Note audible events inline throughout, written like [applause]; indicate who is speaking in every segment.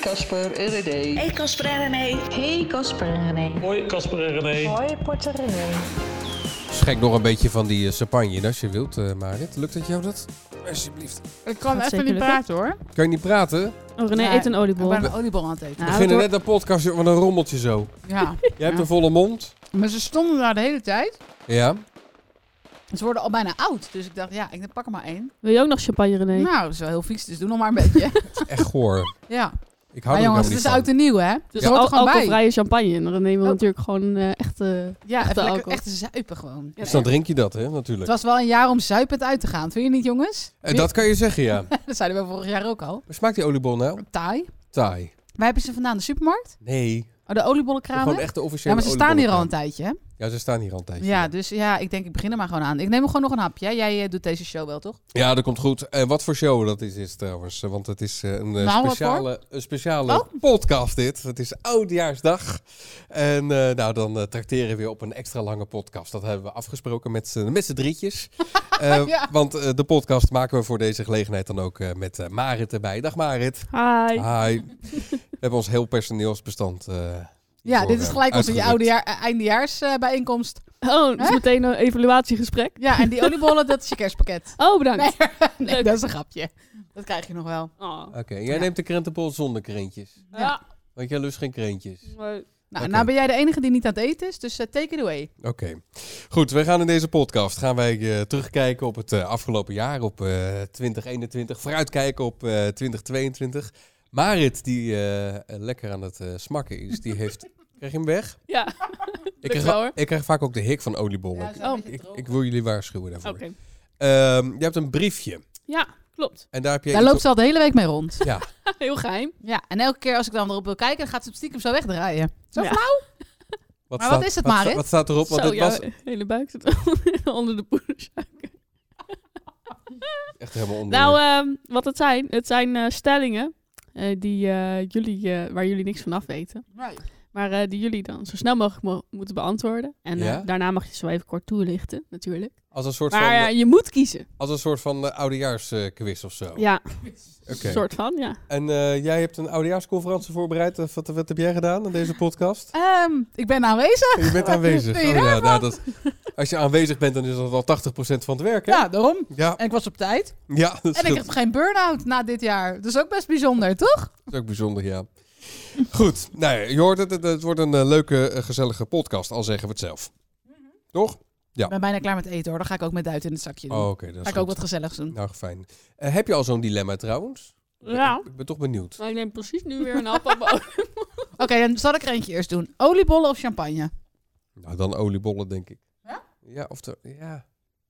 Speaker 1: Casper en René.
Speaker 2: Hey Casper en René.
Speaker 3: Hey Casper en René.
Speaker 4: Hoi Casper en René.
Speaker 3: Hoi Porter René.
Speaker 5: Schenk nog een beetje van die eh, champagne in als je wilt, eh, Marit. Lukt het jou dat? Alsjeblieft.
Speaker 6: Ik kan
Speaker 7: Gaat
Speaker 6: even
Speaker 7: zeker
Speaker 6: niet
Speaker 7: lukken.
Speaker 6: praten hoor.
Speaker 5: Kan je niet praten?
Speaker 7: Oh, René,
Speaker 6: Nee,
Speaker 7: eet een
Speaker 6: Ik
Speaker 7: oliebol.
Speaker 6: ben een oliebol aan het eten.
Speaker 5: We
Speaker 7: Nou,
Speaker 5: beginnen
Speaker 7: dat
Speaker 5: net een podcast van een rommeltje zo.
Speaker 6: Ja.
Speaker 5: Jij hebt
Speaker 6: Ja.
Speaker 5: een volle mond.
Speaker 6: Maar ze stonden daar de hele tijd.
Speaker 5: Ja.
Speaker 6: Ze worden al bijna oud. Dus ik dacht, ja, ik pak er maar één.
Speaker 7: Wil je ook nog champagne, René?
Speaker 6: Nou, dat is wel heel vies. Dus doe nog maar een beetje. [laughs]
Speaker 5: Echt goor.
Speaker 6: ja.
Speaker 5: Ik hou
Speaker 6: Maar
Speaker 5: er ook
Speaker 6: Ah, jongens,
Speaker 5: helemaal
Speaker 6: het
Speaker 5: niet
Speaker 6: is
Speaker 5: van.
Speaker 6: oud en nieuw, hè?
Speaker 7: dus
Speaker 6: dat hoort
Speaker 7: al
Speaker 6: er gewoon bij.
Speaker 7: alcoholvrije champagne. En René wil
Speaker 6: Oh.
Speaker 7: natuurlijk gewoon eh echt... eh,
Speaker 6: Ja,
Speaker 7: Echte
Speaker 6: even lekker
Speaker 7: alcohol.
Speaker 6: echt zuipen gewoon.
Speaker 5: Dus dan drink je dat, hè,
Speaker 6: Het
Speaker 5: natuurlijk.
Speaker 6: was wel een jaar om zuipend uit te gaan. Vind je niet, jongens? [laughs]
Speaker 5: Eh, dat kan je zeggen, ja.
Speaker 6: dat zeiden we vorig jaar ook al.
Speaker 5: Maar smaakt die oliebol nou?
Speaker 6: Taai.
Speaker 5: Thai.
Speaker 6: Waar hebben ze vandaan? De supermarkt?
Speaker 5: Nee.
Speaker 6: Oh, de oliebollenkramen?
Speaker 5: Gewoon echt de officiële
Speaker 6: Ja, maar ze staan hier al een
Speaker 5: oliebollenkraam.
Speaker 6: tijdje, hè?
Speaker 5: Ja, ze staan hier al een tijdje.
Speaker 6: Ja, dus ja, ik denk ik begin er maar gewoon aan. Ik neem er gewoon nog een hapje. hè? Jij eh, doet deze show wel, toch?
Speaker 5: Ja, dat komt goed. En wat voor show dat is, is trouwens? eh, Want het is eh, een eh,
Speaker 6: Nou, wat
Speaker 5: speciale, een speciale
Speaker 6: Oh.
Speaker 5: podcast dit. Het is oudjaarsdag. En eh, nou, dan eh, tracteren we weer op een extra lange podcast. Dat hebben we afgesproken met z'n met z'n
Speaker 6: [laughs]
Speaker 5: drietjes. Eh,
Speaker 6: Ja.
Speaker 5: Want eh, de podcast maken we voor deze gelegenheid dan ook eh, met eh, Marit erbij. Dag Marit.
Speaker 7: Hi.
Speaker 5: Hi. we hebben ons heel personeelsbestand eh,
Speaker 6: Ja,
Speaker 5: hiervoor,
Speaker 6: dit is
Speaker 5: eh,
Speaker 6: gelijk onze
Speaker 5: uitgerukt.
Speaker 6: oudejaar, eh, eindejaarsbijeenkomst.
Speaker 7: Oh, dus
Speaker 6: Hè?
Speaker 7: meteen een evaluatiegesprek.
Speaker 6: ja, [laughs] en die oliebollen, dat is je [laughs] kerstpakket.
Speaker 7: Oh, bedankt.
Speaker 6: Nee,
Speaker 7: Leuk.
Speaker 6: dat is een grapje. Dat krijg je nog wel. Nou,
Speaker 7: Oh.
Speaker 5: Oké, jij
Speaker 6: Ja.
Speaker 5: neemt de krentenbol zonder krentjes.
Speaker 7: Ja.
Speaker 5: Want jij lust geen krentjes.
Speaker 7: leuk.
Speaker 6: Nou,
Speaker 5: Oké.
Speaker 6: nou ben jij de enige die niet aan het eten is, dus eh, take it away.
Speaker 5: Oké. Goed, we gaan in deze podcast gaan wij eh, terugkijken op het eh, afgelopen jaar, op eh 2021. Vooruitkijken op eh, 2022. Marit, die eh, eh, lekker aan het eh, smakken is, die
Speaker 7: [laughs]
Speaker 5: heeft... Krijg je hem weg?
Speaker 7: Ja,
Speaker 5: Ik krijg,
Speaker 7: wel, hoor.
Speaker 5: ik krijg vaak ook de hik van oliebollen.
Speaker 7: Oh.
Speaker 5: ik, ik wil jullie waarschuwen daarvoor.
Speaker 7: oké.
Speaker 5: Ehm, je hebt een briefje.
Speaker 7: Ja, klopt.
Speaker 5: En daar heb je...
Speaker 6: Daar
Speaker 5: iets
Speaker 6: loopt ze al de hele week mee rond.
Speaker 5: op- Ja,
Speaker 7: Heel geheim.
Speaker 6: [laughs] Ja, en elke keer als ik dan erop wil kijken, dan gaat ze hem stiekem zo wegdraaien. Zo
Speaker 7: Ja.
Speaker 6: flauw?
Speaker 5: wat
Speaker 6: Maar wat is het,
Speaker 5: sta-
Speaker 6: Marit?
Speaker 5: Wat staat erop? Want
Speaker 7: Zo,
Speaker 5: dit
Speaker 7: jouw
Speaker 5: was
Speaker 7: hele buik zit [laughs] onder de poedersuiker.
Speaker 5: echt
Speaker 7: [laughs]
Speaker 5: helemaal onder.
Speaker 7: Nou, ehm, wat het zijn. Het zijn eh, stellingen eh, die, eh, jullie, eh, waar jullie niks van af weten. Maar eh, die jullie dan zo snel mogelijk mo- moeten beantwoorden. En eh,
Speaker 5: Ja?
Speaker 7: daarna mag je zo even kort toelichten, natuurlijk.
Speaker 5: als een soort van,
Speaker 7: Maar eh, je moet kiezen.
Speaker 5: als een soort van eh, oudejaarsquiz of zo.
Speaker 7: Ja,
Speaker 5: Oh, Oké.
Speaker 7: soort van, ja.
Speaker 5: En eh, jij hebt een oudejaarsconferentie voorbereid. Eh, Wat, wat heb jij gedaan aan deze
Speaker 6: [laughs]
Speaker 5: podcast?
Speaker 6: Ehm, ik ben aanwezig.
Speaker 5: Je bent aanwezig.
Speaker 6: vind je
Speaker 5: ja, nou, dat, als je aanwezig bent, dan is dat al 80% van het werk, hè?
Speaker 6: Ja, daarom.
Speaker 5: Ja,
Speaker 6: En ik was op tijd.
Speaker 5: ja dat,
Speaker 6: En ik
Speaker 5: scheelt.
Speaker 6: heb geen burn-out na dit jaar. Dat is ook best bijzonder, toch?
Speaker 5: Dat is ook bijzonder, ja. Goed, nou, ja, je hoort het. Het, het wordt een eh, leuke, eh, gezellige podcast, al zeggen we het zelf. Toch?
Speaker 6: Ik ben bijna klaar met eten hoor. Dan ga ik ook met duit in het zakje doen.
Speaker 5: Oh, Oké, dat
Speaker 6: ga
Speaker 5: is
Speaker 6: ik ook
Speaker 5: goed.
Speaker 6: wat gezelligs doen.
Speaker 5: Nou, fijn. Eh, heb je al zo'n dilemma trouwens?
Speaker 7: Ja.
Speaker 5: Ik, ik ben toch benieuwd.
Speaker 7: Maar ik neem precies nu weer een appel.
Speaker 6: Oké, dan zal ik er eentje eerst doen. Oliebollen of champagne?
Speaker 5: Nou, dan oliebollen, denk ik. Ja? Ja, of de- ja.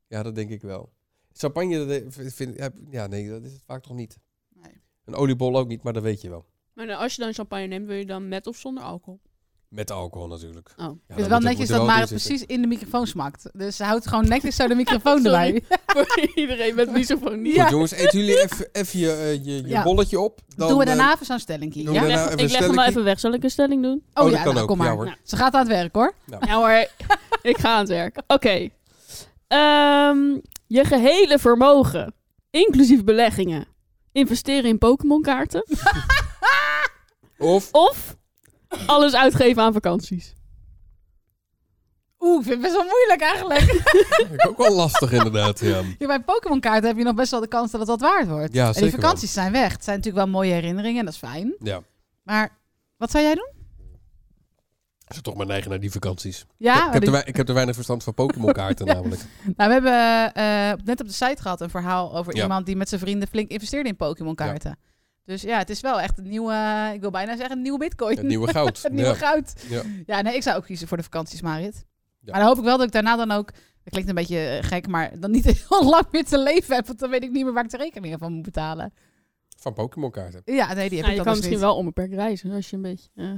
Speaker 5: ja dat denk ik wel. Champagne, dat eh, vind- vind, heb- ja, nee, dat is het vaak toch niet.
Speaker 6: Nee.
Speaker 5: Een oliebol ook niet, maar dat weet je wel.
Speaker 7: [laughs] maar nou, als je dan champagne neemt, wil je dan met of zonder alcohol?
Speaker 5: Met alcohol natuurlijk.
Speaker 7: Oh.
Speaker 5: Ja,
Speaker 6: het is
Speaker 5: dan
Speaker 6: wel
Speaker 5: moet er-
Speaker 6: netjes
Speaker 5: moet er
Speaker 6: dat
Speaker 5: wel
Speaker 6: Mare
Speaker 5: in zitten.
Speaker 6: precies in de microfoon smakt. Dus ze houdt gewoon netjes zo de
Speaker 5: [laughs]
Speaker 6: microfoon erbij.
Speaker 7: [laughs] Voor iedereen met misofonie.
Speaker 5: Goed, jongens, eten jullie even, even je, eh, je, je
Speaker 6: Ja.
Speaker 5: bolletje op. Dan,
Speaker 6: doen we
Speaker 5: eh,
Speaker 6: daarna even zo'n stellingje.
Speaker 5: doen
Speaker 6: Ja?
Speaker 5: we
Speaker 7: Ik
Speaker 5: daarna
Speaker 7: leg,
Speaker 5: Nou, even
Speaker 7: ik
Speaker 5: een
Speaker 7: leg hem wel
Speaker 5: stelletje.
Speaker 7: even weg. Zal ik een stelling doen?
Speaker 5: Oh,
Speaker 6: Oh,
Speaker 5: dat
Speaker 6: ja,
Speaker 5: kan
Speaker 6: nou,
Speaker 5: ook.
Speaker 6: kom maar.
Speaker 5: Ja, hoor.
Speaker 7: Nou.
Speaker 6: Ze gaat aan het werk hoor.
Speaker 7: Ja hoor, [laughs] ik ga aan het werk. Oké. Ehm, je gehele vermogen, inclusief beleggingen, investeren in Pokémon-kaarten
Speaker 5: Of,
Speaker 7: of alles uitgeven aan vakanties?
Speaker 6: Oeh, ik vind het best wel moeilijk eigenlijk. [laughs]
Speaker 5: vind ik ook wel lastig inderdaad, ja.
Speaker 6: Ja, bij Pokémon kaarten heb je nog best wel de kans dat het wat waard wordt.
Speaker 5: Ja,
Speaker 6: en
Speaker 5: zeker
Speaker 6: die vakanties zijn weg. Het zijn natuurlijk wel mooie herinneringen en dat is fijn.
Speaker 5: wel. Ja,
Speaker 6: Maar wat zou jij doen?
Speaker 5: ze toch maar neigen naar die vakanties.
Speaker 6: Ja,
Speaker 5: ik, heb
Speaker 6: die-
Speaker 5: er, wei- ik heb er weinig verstand van
Speaker 6: [laughs]
Speaker 5: Pokémon-kaarten namelijk.
Speaker 6: Nou, we hebben eh, net op de site gehad een verhaal over
Speaker 5: Ja.
Speaker 6: iemand die met zijn vrienden flink investeerde in Pokémon kaarten. Dus ja, het is wel echt een nieuwe, eh, ik wil bijna zeggen, een nieuwe bitcoin.
Speaker 5: Het
Speaker 6: [laughs]
Speaker 5: nieuwe goud.
Speaker 6: Het nieuwe
Speaker 5: ja.
Speaker 6: goud.
Speaker 5: Ja.
Speaker 6: Ja. nee, ik zou ook kiezen voor de vakanties, Marit.
Speaker 5: Ja.
Speaker 6: Maar dan hoop ik wel dat ik daarna dan ook, dat klinkt een beetje eh, gek, maar dan niet [laughs] heel lang meer te leven heb. Want dan weet ik niet meer waar ik de rekeningen van moet betalen.
Speaker 5: Van Pokémon-kaarten.
Speaker 6: Ja, nee, die heb
Speaker 7: Nou,
Speaker 6: ik dan
Speaker 7: je kan
Speaker 6: dus
Speaker 7: misschien
Speaker 6: niet.
Speaker 7: wel onbeperkt reizen als je een beetje eh,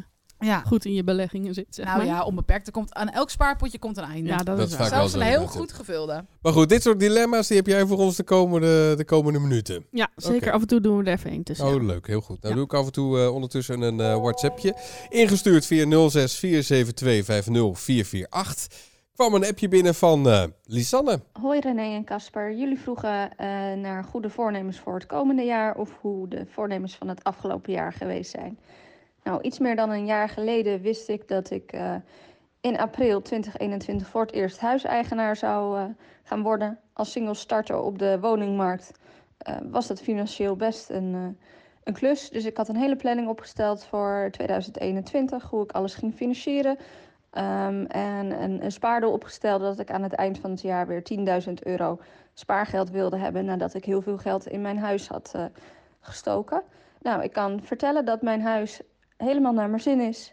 Speaker 6: Ja.
Speaker 7: goed in je beleggingen zit. Zeg
Speaker 6: Nou
Speaker 7: maar.
Speaker 6: ja, onbeperkt. Er komt, aan elk spaarpotje komt een einde.
Speaker 7: Ja, dat,
Speaker 5: Dat
Speaker 7: is
Speaker 5: is
Speaker 7: waar.
Speaker 5: vaak wel
Speaker 6: Zelfs
Speaker 5: zo,
Speaker 6: een heel
Speaker 5: inderdaad.
Speaker 6: goed gevulde.
Speaker 5: Maar goed, dit soort dilemma's die heb jij voor ons de komende, de komende minuten.
Speaker 7: Ja, zeker.
Speaker 5: Oké.
Speaker 7: Af en toe doen we er even één tussen.
Speaker 5: Oh, leuk. Heel goed. Nou
Speaker 7: Ja.
Speaker 5: doe ik af en toe eh, ondertussen een eh WhatsAppje. Ingestuurd via 0647250448. kwam een appje binnen van eh Lisanne.
Speaker 1: Hoi René en Casper, jullie vroegen eh, naar goede voornemens voor het komende jaar of hoe de voornemens van het afgelopen jaar geweest zijn. Nou, iets meer dan een jaar geleden wist ik dat ik eh, in april 2021 voor het eerst huiseigenaar zou eh, gaan worden. Als single starter op de woningmarkt eh, was dat financieel best een, eh, een klus. Dus ik had een hele planning opgesteld voor 2021, hoe ik alles ging financieren. Ehm, en een, een spaardoel opgesteld dat ik aan het eind van het jaar weer 10.000 euro spaargeld wilde hebben nadat ik heel veel geld in mijn huis had eh, gestoken. Nou, ik kan vertellen dat mijn huis helemaal naar mijn zin is.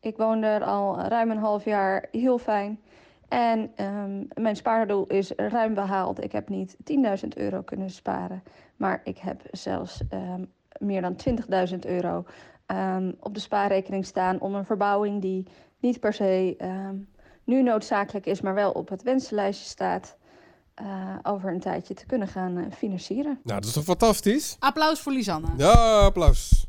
Speaker 1: Ik woon er al ruim een half jaar heel fijn. En ehm, mijn spaardoel is ruim behaald. Ik heb niet 10.000 euro kunnen sparen, maar ik heb zelfs ehm, meer dan 20.000 euro ehm, op de spaarrekening staan om een verbouwing die niet per se ehm, nu noodzakelijk is, maar wel op het wensenlijstje staat, eh, over een tijdje te kunnen gaan eh, financieren.
Speaker 5: Nou, dat is toch fantastisch?
Speaker 6: Applaus voor Lisanne.
Speaker 5: Ja, applaus.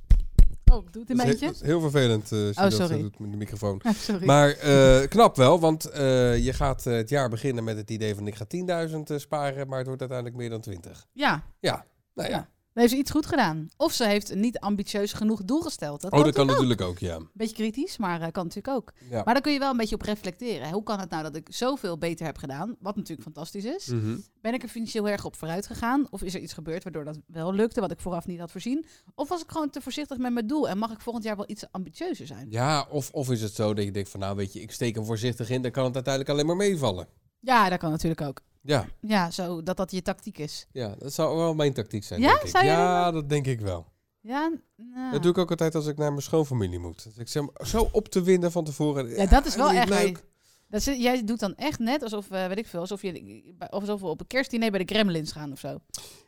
Speaker 6: Oh, doet een
Speaker 5: Dat is he-
Speaker 6: beetje.
Speaker 5: dat is heel vervelend eh, als je
Speaker 6: Oh,
Speaker 5: dat eh,
Speaker 6: sorry.
Speaker 5: doet met de microfoon.
Speaker 6: Ah, [laughs] sorry.
Speaker 5: Maar eh, knap wel, want eh, je gaat eh, het jaar beginnen met het idee van ik ga 10.000 eh, sparen, maar het wordt uiteindelijk meer dan 20.
Speaker 6: ja,
Speaker 5: Ja, nou ja.
Speaker 6: Ja, dan heeft ze iets goed gedaan. Of ze heeft een niet ambitieus genoeg doel gesteld. Dat
Speaker 5: oh, dat
Speaker 6: kan
Speaker 5: kan natuurlijk ook, ja.
Speaker 6: Beetje kritisch, maar eh, kan natuurlijk ook.
Speaker 5: ja.
Speaker 6: Maar daar kun je wel een beetje op reflecteren. Hoe kan het nou dat ik zoveel beter heb gedaan? Wat natuurlijk fantastisch is.
Speaker 5: Mhm.
Speaker 6: Ben ik er financieel erg op vooruit gegaan? Of is er iets gebeurd waardoor dat wel lukte, wat ik vooraf niet had voorzien? Of was ik gewoon te voorzichtig met mijn doel en mag ik volgend jaar wel iets ambitieuzer zijn?
Speaker 5: Ja, of, of is het zo dat je denkt van nou weet je, ik steek hem voorzichtig in, dan kan het uiteindelijk alleen maar meevallen.
Speaker 6: Ja, dat kan natuurlijk ook.
Speaker 5: Ja,
Speaker 6: Ja, zo dat dat je tactiek is.
Speaker 5: ja dat zou wel mijn tactiek zijn.
Speaker 6: Ja?
Speaker 5: denk ik.
Speaker 6: Zou je
Speaker 5: ja, dat denk ik wel.
Speaker 6: Ja, nou.
Speaker 5: Dat doe ik ook altijd als ik naar mijn schoonfamilie moet. Dus ik zeg maar, zo op te winden van tevoren.
Speaker 6: Ja, dat is wel
Speaker 5: niet
Speaker 6: echt
Speaker 5: leuk.
Speaker 6: Dat is- jij doet dan echt net alsof, eh, weet ik veel, alsof, je, alsof we op een kerstdiner bij de Kremlins gaan of zo.
Speaker 5: Nou,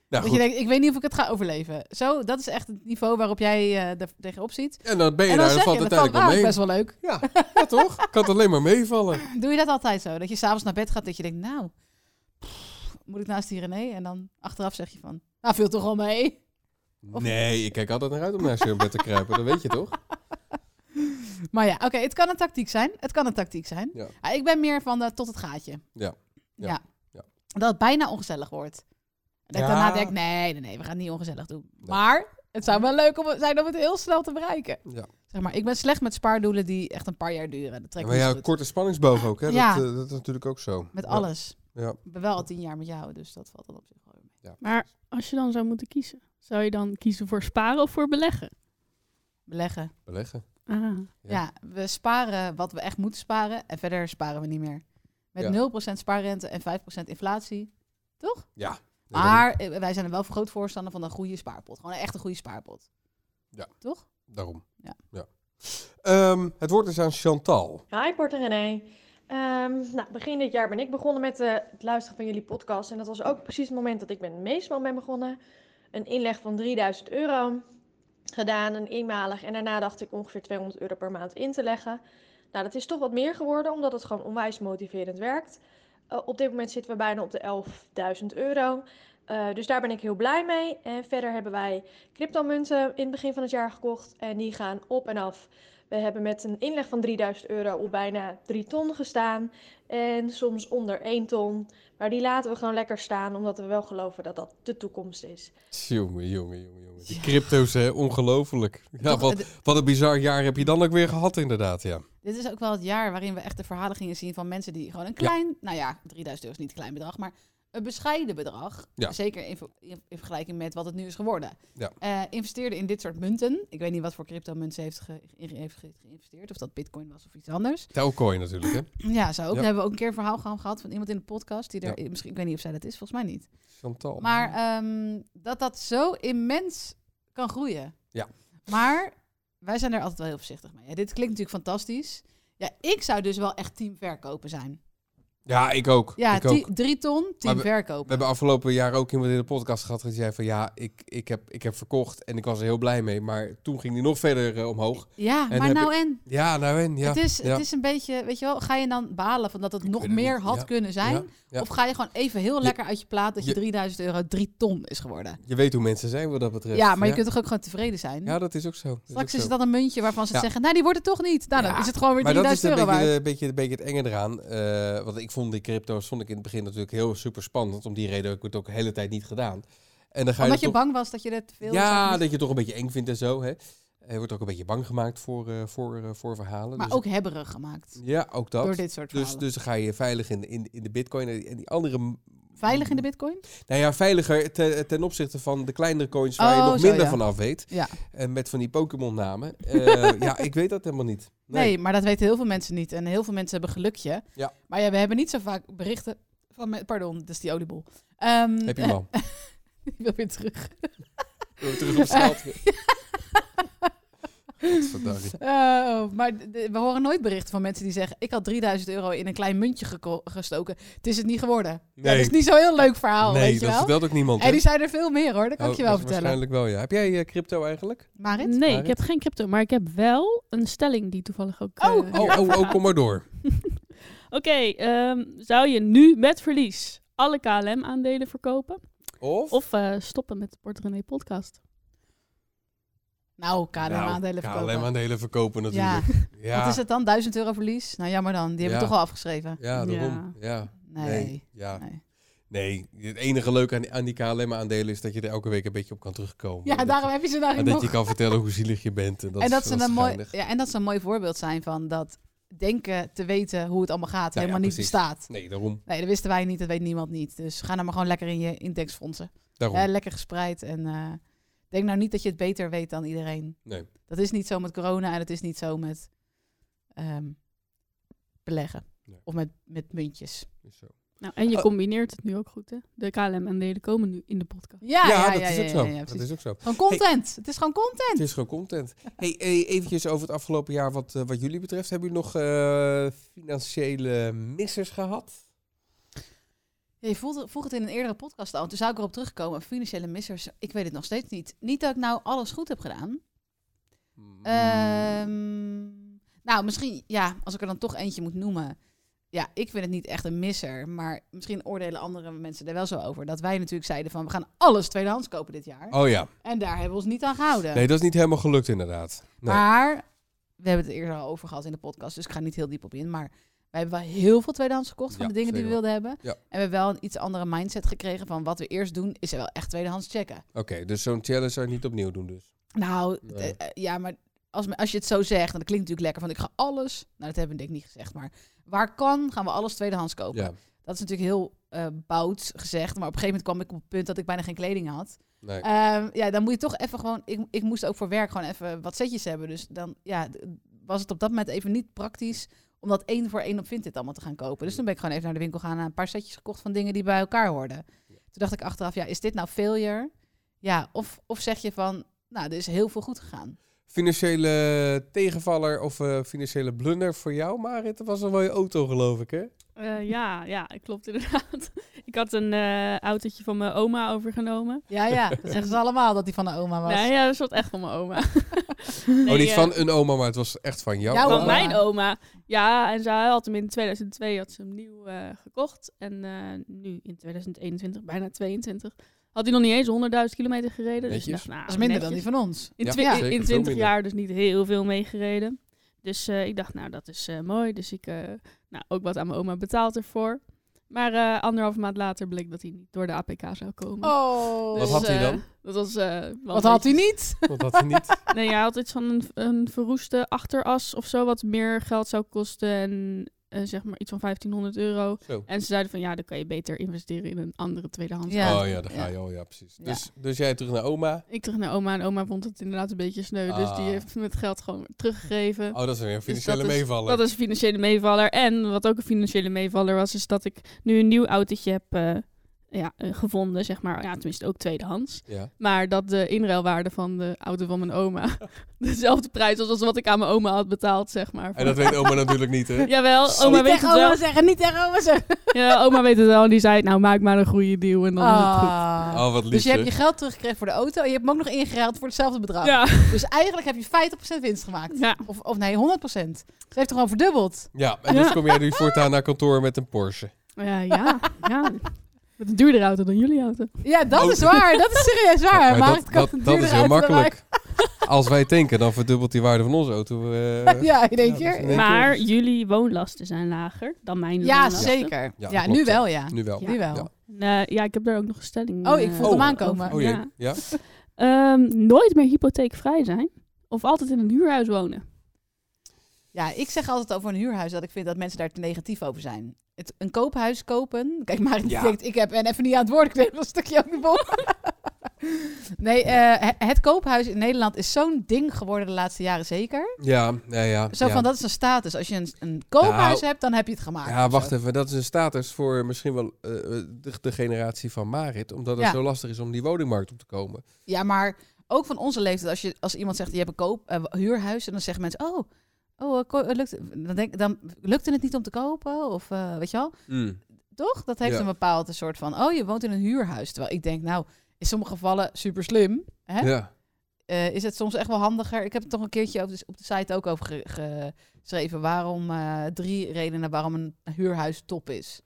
Speaker 6: dat
Speaker 5: goed.
Speaker 6: je denkt, ik weet niet of ik het ga overleven. Zo, dat is echt het niveau waarop jij eh er tegenop ziet.
Speaker 5: En dan ben je
Speaker 6: en dan
Speaker 5: daar,
Speaker 6: zeg
Speaker 5: dan valt
Speaker 6: je, dat valt
Speaker 5: uiteindelijk wel
Speaker 6: wel
Speaker 5: mee.
Speaker 6: best wel leuk.
Speaker 5: Ja, [laughs] ja, toch? Kan het alleen maar meevallen.
Speaker 6: Doe je dat altijd zo? Dat je s'avonds naar bed gaat dat je denkt, nou, pff, moet ik naast die René? En dan achteraf zeg je van, nou, viel toch wel mee? [laughs] Of-
Speaker 5: Nee, ik kijk altijd naar uit om naar zo'n bed te kruipen. Dat weet je toch?
Speaker 6: Maar ja, oké, het kan een tactiek zijn. Het kan een tactiek zijn.
Speaker 5: Ja.
Speaker 6: Ah, ik ben meer van eh, tot het gaatje.
Speaker 5: Ja. Ja.
Speaker 6: Ja.
Speaker 5: Ja.
Speaker 6: Dat het bijna ongezellig wordt. Dat ik
Speaker 5: Ja.
Speaker 6: daarna denk, nee, nee, nee, we gaan het niet ongezellig doen.
Speaker 5: Nee.
Speaker 6: Maar het zou wel leuk om, zijn om het heel snel te bereiken.
Speaker 5: Ja.
Speaker 6: Zeg maar, ik ben slecht met spaardoelen die echt een paar jaar duren. Dat trek ik
Speaker 5: Maar
Speaker 6: niet
Speaker 5: ja,
Speaker 6: zo goed.
Speaker 5: korte spanningsboog ook. Hè?
Speaker 6: Ja.
Speaker 5: Dat, eh, dat is natuurlijk ook zo.
Speaker 6: Met
Speaker 5: Ja.
Speaker 6: alles.
Speaker 5: Ja.
Speaker 6: Ik ben wel al tien jaar met jou, dus dat valt dan op zich wel weer mee.
Speaker 7: Maar als je dan zou moeten kiezen, zou je dan kiezen voor sparen of voor beleggen?
Speaker 6: Beleggen.
Speaker 5: Beleggen.
Speaker 7: Ah.
Speaker 5: Ja.
Speaker 6: Ja. we sparen wat we echt moeten sparen en verder sparen we niet meer.
Speaker 5: Ja.
Speaker 6: Met 0% spaarrente en 5% inflatie. Toch?
Speaker 5: Ja. Nee,
Speaker 6: Maar eh, wij zijn er wel groot voorstander van een goede spaarpot. Gewoon echt een goede spaarpot.
Speaker 5: Ja.
Speaker 6: Toch?
Speaker 5: Daarom.
Speaker 6: Ja.
Speaker 5: Ehm, het woord is aan Chantal.
Speaker 2: Hi, Bart en René. Ehm, nou, begin dit jaar ben ik begonnen met eh, het luisteren van jullie podcast. En dat was ook precies het moment dat ik met Meesman ben begonnen. Een inleg van 3000 euro gedaan, een eenmalig. En daarna dacht ik ongeveer 200 euro per maand in te leggen. Nou, dat is toch wat meer geworden, omdat het gewoon onwijs motiverend werkt. Eh, op dit moment zitten we bijna op de 11.000 euro. Eh, dus daar ben ik heel blij mee. En verder hebben wij cryptomunten in het begin van het jaar gekocht. En die gaan op en af. We hebben met een inleg van 3000 euro op bijna 3 ton gestaan. En soms onder 1 ton. Maar die laten we gewoon lekker staan, omdat we wel geloven dat dat de toekomst is.
Speaker 5: Jongen, jongen, jongen, jongen. Die crypto's, hè? Ongelooflijk. Ja,
Speaker 6: Toch,
Speaker 5: wat,
Speaker 6: eh, d-
Speaker 5: wat een bizar jaar heb je dan ook weer gehad, inderdaad. Ja.
Speaker 6: Dit is ook wel het jaar waarin we echt de verhalen gingen zien van mensen die gewoon een klein, nou ja, 3000 euro is niet een klein bedrag, maar een bescheiden bedrag.
Speaker 5: Ja.
Speaker 6: Zeker in, ver- in, in vergelijking met wat het nu is geworden.
Speaker 5: Ja.
Speaker 6: Eh, investeerden in dit soort munten. Ik weet niet wat voor cryptomunt ze heeft, ge- in- heeft ge- geïnvesteerd, of dat bitcoin was of iets anders.
Speaker 5: Telcoin natuurlijk, hè?
Speaker 6: Ja, zo ook.
Speaker 5: Ja.
Speaker 6: Dan hebben we ook een keer een verhaal geha- gehad van iemand in de podcast die daar,
Speaker 5: Ja.
Speaker 6: misschien, ik weet niet of zij dat is, volgens mij niet.
Speaker 5: Chantal.
Speaker 6: Maar ehm, dat dat zo immens kan groeien.
Speaker 5: Ja.
Speaker 6: Maar wij zijn er altijd wel heel voorzichtig mee. Ja, dit klinkt natuurlijk fantastisch. Ja, ik zou dus wel echt team verkopen zijn.
Speaker 5: Ja, ik ook.
Speaker 6: Ja,
Speaker 5: ik
Speaker 6: ti-
Speaker 5: ook.
Speaker 6: drie ton, tien
Speaker 5: Maar
Speaker 6: verkopen.
Speaker 5: We hebben afgelopen jaar ook iemand in de podcast gehad die zei van ja, ik, ik, heb, ik heb verkocht en ik was er heel blij mee. Maar toen ging die nog verder eh, omhoog.
Speaker 6: ja,
Speaker 5: en
Speaker 6: maar
Speaker 5: heb
Speaker 6: nou en?
Speaker 5: Ja, nou en ja.
Speaker 6: het, is,
Speaker 5: ja.
Speaker 6: het is een beetje, weet je wel, ga je dan balen van dat het nog
Speaker 5: weet het
Speaker 6: meer
Speaker 5: niet,
Speaker 6: had
Speaker 5: ja,
Speaker 6: kunnen zijn?
Speaker 5: Ja, ja.
Speaker 6: Of ga je gewoon even heel
Speaker 5: Je-
Speaker 6: lekker uit je plaat dat je,
Speaker 5: je-
Speaker 6: 3000 euro 3 ton is geworden?
Speaker 5: Je weet hoe mensen zijn wat dat betreft.
Speaker 6: Ja, maar je kunt toch ook gewoon tevreden zijn?
Speaker 5: Ja, dat is ook zo. Dat is
Speaker 6: Straks
Speaker 5: ook
Speaker 6: is
Speaker 5: zo.
Speaker 6: dat een muntje waarvan ze
Speaker 5: Ja.
Speaker 6: zeggen, nou die wordt het toch niet. Nou, dan
Speaker 5: Ja,
Speaker 6: is het gewoon weer
Speaker 5: Maar dat is
Speaker 6: 3000
Speaker 5: een
Speaker 6: euro
Speaker 5: beetje,
Speaker 6: waard.
Speaker 5: de- beetje, een beetje het enge eraan. Eh, want ik vond die crypto's vond ik in het begin natuurlijk heel super spannend. Om die reden heb ik het ook de hele tijd niet gedaan. En dan ga je
Speaker 6: Omdat
Speaker 5: er
Speaker 6: je
Speaker 5: toch-
Speaker 6: bang was dat je dat te veel zou
Speaker 5: Ja,
Speaker 6: moeten-
Speaker 5: dat je het toch een beetje eng vindt en zo. Hè? Je wordt ook een beetje bang gemaakt voor, eh, voor, eh, voor verhalen.
Speaker 6: maar
Speaker 5: Dus-
Speaker 6: ook hebberig gemaakt.
Speaker 5: Ja, ook dat.
Speaker 6: Door dit soort
Speaker 5: Dus,
Speaker 6: verhalen.
Speaker 5: dus dan ga je veilig in, in, in de bitcoin. En die andere...
Speaker 6: Veilig in de bitcoin?
Speaker 5: Nou ja, veiliger ten, ten opzichte van de kleinere coins waar
Speaker 6: Oh,
Speaker 5: je nog
Speaker 6: zo,
Speaker 5: minder
Speaker 6: ja.
Speaker 5: van af weet.
Speaker 6: Ja.
Speaker 5: En met van die Pokémon namen. Eh, [laughs] ja, ik weet dat helemaal niet.
Speaker 6: Nee. maar dat weten heel veel mensen niet. En heel veel mensen hebben gelukje.
Speaker 5: Ja.
Speaker 6: Maar ja, we hebben niet zo vaak berichten van... me- Pardon, dat is die oliebol. Ehm,
Speaker 5: Heb je hem al?
Speaker 6: [laughs] ik wil weer terug.
Speaker 5: Wil je terug
Speaker 6: [laughs]
Speaker 5: op straat? Godverdorie.
Speaker 6: Eh, oh, maar d- d- we horen nooit berichten van mensen die zeggen... ik had 3000 euro in een klein muntje geko- gestoken. Het is het niet geworden. Ja,
Speaker 5: Nee.
Speaker 6: dat is niet zo'n heel leuk verhaal,
Speaker 5: nee,
Speaker 6: Oh, weet je
Speaker 5: dat
Speaker 6: wel.
Speaker 5: vertelt ook niemand.
Speaker 6: En
Speaker 5: hè?
Speaker 6: die zijn er veel meer hoor, dat kan
Speaker 5: Oh,
Speaker 6: ik je wel
Speaker 5: dat is
Speaker 6: vertellen.
Speaker 5: Waarschijnlijk wel, ja. Heb jij eh, crypto eigenlijk?
Speaker 6: Marit?
Speaker 7: Nee, ik
Speaker 5: Marit?
Speaker 7: heb geen crypto, maar ik heb wel een stelling die toevallig ook...
Speaker 6: Oh,
Speaker 7: eh,
Speaker 5: Oh, oh, oh, kom maar door.
Speaker 7: Oké, ehm, zou je nu met verlies alle KLM-aandelen verkopen?
Speaker 5: Of?
Speaker 7: Of eh, stoppen met de Port René podcast?
Speaker 6: Nou, KLM-aandelen
Speaker 5: Nou,
Speaker 6: verkopen.
Speaker 5: KLM aandelen verkopen
Speaker 6: ja.
Speaker 5: natuurlijk.
Speaker 6: [laughs]
Speaker 5: Ja,
Speaker 6: wat is het dan? 1000 euro verlies? Nou, jammer dan. Die hebben we
Speaker 5: Ja.
Speaker 6: toch al afgeschreven.
Speaker 5: ja daarom. Ja.
Speaker 6: Nee.
Speaker 5: Ja.
Speaker 6: Nee.
Speaker 5: Nee, het enige leuke aan, aan die KLM-aandelen is dat je er elke week een beetje op kan terugkomen.
Speaker 6: Ja,
Speaker 5: En Oh, dat-
Speaker 6: daarom heb je ze
Speaker 5: En
Speaker 6: daar
Speaker 5: dat je
Speaker 6: nog.
Speaker 5: kan vertellen hoe zielig je bent. En dat,
Speaker 6: En dat,
Speaker 5: is
Speaker 6: ze
Speaker 5: wel
Speaker 6: een mooi,
Speaker 5: schijnig.
Speaker 6: ja, en dat ze een mooi voorbeeld zijn van dat denken te weten hoe het allemaal gaat
Speaker 5: ja,
Speaker 6: helemaal niet
Speaker 5: precies.
Speaker 6: bestaat.
Speaker 5: Nee, daarom.
Speaker 6: Nee, dat wisten wij niet, dat weet niemand niet. Dus ga nou maar gewoon lekker in je indexfondsen.
Speaker 5: daarom.
Speaker 6: Hè, lekker gespreid en eh, denk nou niet dat je het beter weet dan iedereen.
Speaker 5: Nee.
Speaker 6: Dat is niet zo met corona en dat is niet zo met ehm, beleggen.
Speaker 5: Nee.
Speaker 6: Of met, met muntjes.
Speaker 5: Is zo.
Speaker 7: Nou, en je
Speaker 5: Oh.
Speaker 7: combineert het nu ook goed, hè? De KLM-aandelen komen nu in de podcast.
Speaker 6: Ja, ja, ja,
Speaker 5: dat is
Speaker 6: ja,
Speaker 5: ook
Speaker 6: ja,
Speaker 5: zo.
Speaker 6: ja,
Speaker 5: dat
Speaker 6: precies.
Speaker 5: is ook zo.
Speaker 6: Gewoon content. Het is gewoon content.
Speaker 5: Het is gewoon content. Hey, eh, eventjes over het afgelopen jaar wat, eh, wat jullie betreft. Hebben jullie nog eh, financiële missers gehad?
Speaker 6: Ja, je voelde, vroeg het in een eerdere podcast al. Toen zou ik erop terugkomen. Financiële missers. Ik weet het nog steeds niet. Niet dat ik nou alles goed heb gedaan. Ehm, nou, misschien, ja, als ik er dan toch eentje moet noemen. Ja, ik vind het niet echt een misser. Maar misschien oordelen andere mensen er wel zo over. Dat wij natuurlijk zeiden van, we gaan alles tweedehands kopen dit jaar.
Speaker 5: Oh ja,
Speaker 6: En daar hebben we ons niet aan gehouden.
Speaker 5: nee, dat is niet helemaal gelukt inderdaad. Nee.
Speaker 6: Maar we hebben het eerder al over gehad in de podcast, dus ik ga niet heel diep op in. Maar we hebben wel heel veel tweedehands gekocht van
Speaker 5: Ja,
Speaker 6: de dingen die we
Speaker 5: zeker
Speaker 6: wilden hebben.
Speaker 5: Ja.
Speaker 6: En we hebben wel een iets andere mindset gekregen van wat we eerst doen, is wel echt tweedehands checken.
Speaker 5: Oké, dus zo'n challenge zou je niet opnieuw doen dus.
Speaker 6: Nou,
Speaker 5: Nee.
Speaker 6: eh, eh, ja, maar als, me- als je het zo zegt, dan klinkt het natuurlijk lekker van ik ga alles. Nou, dat hebben we denk ik niet gezegd, maar waar kan gaan we alles tweedehands kopen.
Speaker 5: Ja,
Speaker 6: Dat is natuurlijk heel eh bout gezegd, maar op een gegeven moment kwam ik op het punt dat ik bijna geen kleding had.
Speaker 5: nee.
Speaker 6: Ehm, ja, dan moet je toch even gewoon. Ik, ik moest ook voor werk gewoon even wat setjes hebben. Dus dan ja, d- was het op dat moment even niet praktisch om dat één voor één op Vinted allemaal te gaan kopen. Dus toen ben ik gewoon even naar de winkel gaan en een paar setjes gekocht van dingen die bij elkaar hoorden. Toen dacht ik achteraf, ja, is dit nou failure? Ja, of, of zeg je van, nou, er is heel veel goed gegaan.
Speaker 5: Financiële tegenvaller of eh, financiële blunder voor jou, Marit? Dat was een mooie auto geloof ik hè?
Speaker 7: Eh, ja, ja, [laughs] klopt inderdaad. ik had een eh, autootje van mijn oma overgenomen.
Speaker 6: Ja,
Speaker 5: [laughs]
Speaker 6: ja, dat zeggen ze allemaal dat die van de oma was.
Speaker 7: Nee, ja, dat was echt van mijn oma. Nee,
Speaker 5: oh, niet
Speaker 7: eh,
Speaker 5: van een oma, maar het was echt van jou.
Speaker 6: Jouw
Speaker 7: van
Speaker 6: oma.
Speaker 7: mijn
Speaker 5: oh.
Speaker 7: oma. Ja, en zij had hem in 2002 had ze hem nieuw eh, gekocht. En eh, nu in 2021, bijna 22, had hij nog niet eens 100.000 kilometer gereden. Dus
Speaker 5: Netjes.
Speaker 7: ik dacht, nou,
Speaker 6: Dat is minder dan die
Speaker 7: netjes.
Speaker 6: van ons.
Speaker 7: In,
Speaker 5: Ja,
Speaker 7: twi-
Speaker 6: ja.
Speaker 7: in- in
Speaker 5: zeker, veel
Speaker 7: 20
Speaker 5: minder.
Speaker 7: jaar dus niet heel veel meegereden. Dus eh, ik dacht, nou, dat is eh, mooi. Dus ik, eh, nou, ook wat aan mijn oma betaald ervoor. Maar eh anderhalve maand later bleek dat hij niet door de APK zou komen.
Speaker 6: Oh,
Speaker 5: Wat had hij
Speaker 7: eh,
Speaker 5: dan?
Speaker 7: dat was, eh, wel een
Speaker 6: wat had hij
Speaker 7: beetje-
Speaker 6: niet?
Speaker 5: Want dat had hij niet.
Speaker 7: Nee, hij had iets van een, een verroeste achteras of zo, wat meer geld zou kosten. En eh, zeg maar iets van 1500 euro. [laughs]
Speaker 5: Zo.
Speaker 7: En ze zeiden van ja, dan kan je beter investeren in een andere tweedehands.
Speaker 6: Ja.
Speaker 5: Oh ja, daar ga je. Oh ja, precies.
Speaker 6: Ja.
Speaker 5: Dus, dus jij terug naar oma.
Speaker 7: Ik terug naar oma en oma vond het inderdaad een beetje sneu. Dus
Speaker 5: Ah.
Speaker 7: die heeft me het geld gewoon teruggegeven.
Speaker 5: Oh, dat is weer een
Speaker 7: Dus
Speaker 5: financiële
Speaker 7: dat is-
Speaker 5: meevaller.
Speaker 7: Dat is een financiële meevaller. En wat ook een financiële meevaller was, is dat ik nu een nieuw autootje heb eh, ja, eh, gevonden, zeg maar. Ja, tenminste ook tweedehands.
Speaker 5: Ja.
Speaker 7: Maar dat de inruilwaarde van de auto van mijn oma [laughs] dezelfde prijs was als wat ik aan mijn oma had betaald, zeg maar.
Speaker 5: En dat weet oma natuurlijk niet, hè?
Speaker 7: Jawel, oma
Speaker 6: niet
Speaker 7: weet het
Speaker 6: tegen
Speaker 7: wel.
Speaker 6: oma zeggen, niet tegen oma zeggen.
Speaker 7: Ja, oma weet het wel. En die zei, nou maak maar een goede deal en dan is het goed.
Speaker 6: Ah.
Speaker 5: Oh, wat lief.
Speaker 6: Dus je hebt
Speaker 5: zeg.
Speaker 6: je geld teruggekregen voor de auto en je hebt hem ook nog ingeruild voor hetzelfde bedrag.
Speaker 7: Ja,
Speaker 6: Dus eigenlijk heb je 50% winst gemaakt.
Speaker 7: ja.
Speaker 6: Of, of nee, 100%. Ze heeft het gewoon verdubbeld.
Speaker 5: Ja, en dus
Speaker 7: Ja.
Speaker 5: kom jij nu voortaan naar kantoor met een Porsche.
Speaker 7: Ja, ja, ja. Met een duurdere auto dan jullie auto.
Speaker 6: Ja, dat
Speaker 5: Oh.
Speaker 6: is waar. Dat is serieus waar.
Speaker 5: [laughs] Maar
Speaker 6: maar
Speaker 5: dat-
Speaker 6: het kan
Speaker 5: dat, dat
Speaker 6: duurder
Speaker 5: is heel
Speaker 6: uit dan wij-
Speaker 5: makkelijk. [laughs] Als wij tanken, dan verdubbelt die waarde van onze auto.
Speaker 6: [laughs]
Speaker 5: eh,
Speaker 6: Ja, in één
Speaker 5: Ja, dat is
Speaker 6: keer.
Speaker 5: een-
Speaker 6: Ja,
Speaker 7: Maar
Speaker 5: Dus
Speaker 7: jullie woonlasten zijn lager dan mijn woonlasten.
Speaker 6: zeker. Ja,
Speaker 5: Ja, klopt,
Speaker 6: nu
Speaker 5: ja.
Speaker 6: wel ja.
Speaker 5: Nu wel.
Speaker 6: Nu wel.
Speaker 5: Ja.
Speaker 7: En, eh, ja, ik heb daar ook nog een stelling
Speaker 6: Oh, ik
Speaker 7: eh,
Speaker 6: voel hem aankomen.
Speaker 7: over.
Speaker 5: Oh jee.
Speaker 7: Ja.
Speaker 5: Ja.
Speaker 7: Ehm, nooit meer hypotheekvrij zijn of altijd in een huurhuis wonen.
Speaker 6: Ja, ik zeg altijd over een huurhuis dat ik vind dat mensen daar te negatief over zijn. Het, een koophuis kopen. Kijk, maar
Speaker 5: Ja.
Speaker 6: denkt, ik heb en even niet aan het woord. Ik neem dat stukje ook niet op. [laughs] nee, eh, he- het koophuis in Nederland is zo'n ding geworden de laatste jaren zeker.
Speaker 5: Ja, ja, ja.
Speaker 6: Zo
Speaker 5: ja. Nou,
Speaker 6: van dat is een status. Als je een, een koophuis hebt, dan heb je het gemaakt.
Speaker 5: Ja,
Speaker 6: of
Speaker 5: wacht
Speaker 6: zo.
Speaker 5: even. Dat is een status voor misschien wel eh, de, de generatie van Marit. Omdat het
Speaker 6: Ja.
Speaker 5: zo lastig is om die woningmarkt op te komen.
Speaker 6: Ja, maar ook van onze leeftijd. Als, je, als iemand zegt, je hebt een koop, eh, huurhuis. En dan zeggen mensen, oh, oh eh, ko- eh, lukt, dan denk, dan lukte het niet om te kopen. Of eh, weet je wel. Toch? Dat heeft
Speaker 5: Ja.
Speaker 6: een bepaald een soort van, oh, je woont in een huurhuis. Terwijl ik denk, nou, in sommige gevallen super slim. Hè?
Speaker 5: Ja.
Speaker 6: Eh, is het soms echt wel handiger? Ik heb het toch een keertje op de, op de site ook over ge- ge- geschreven. Waarom eh, drie redenen waarom een huurhuis top is.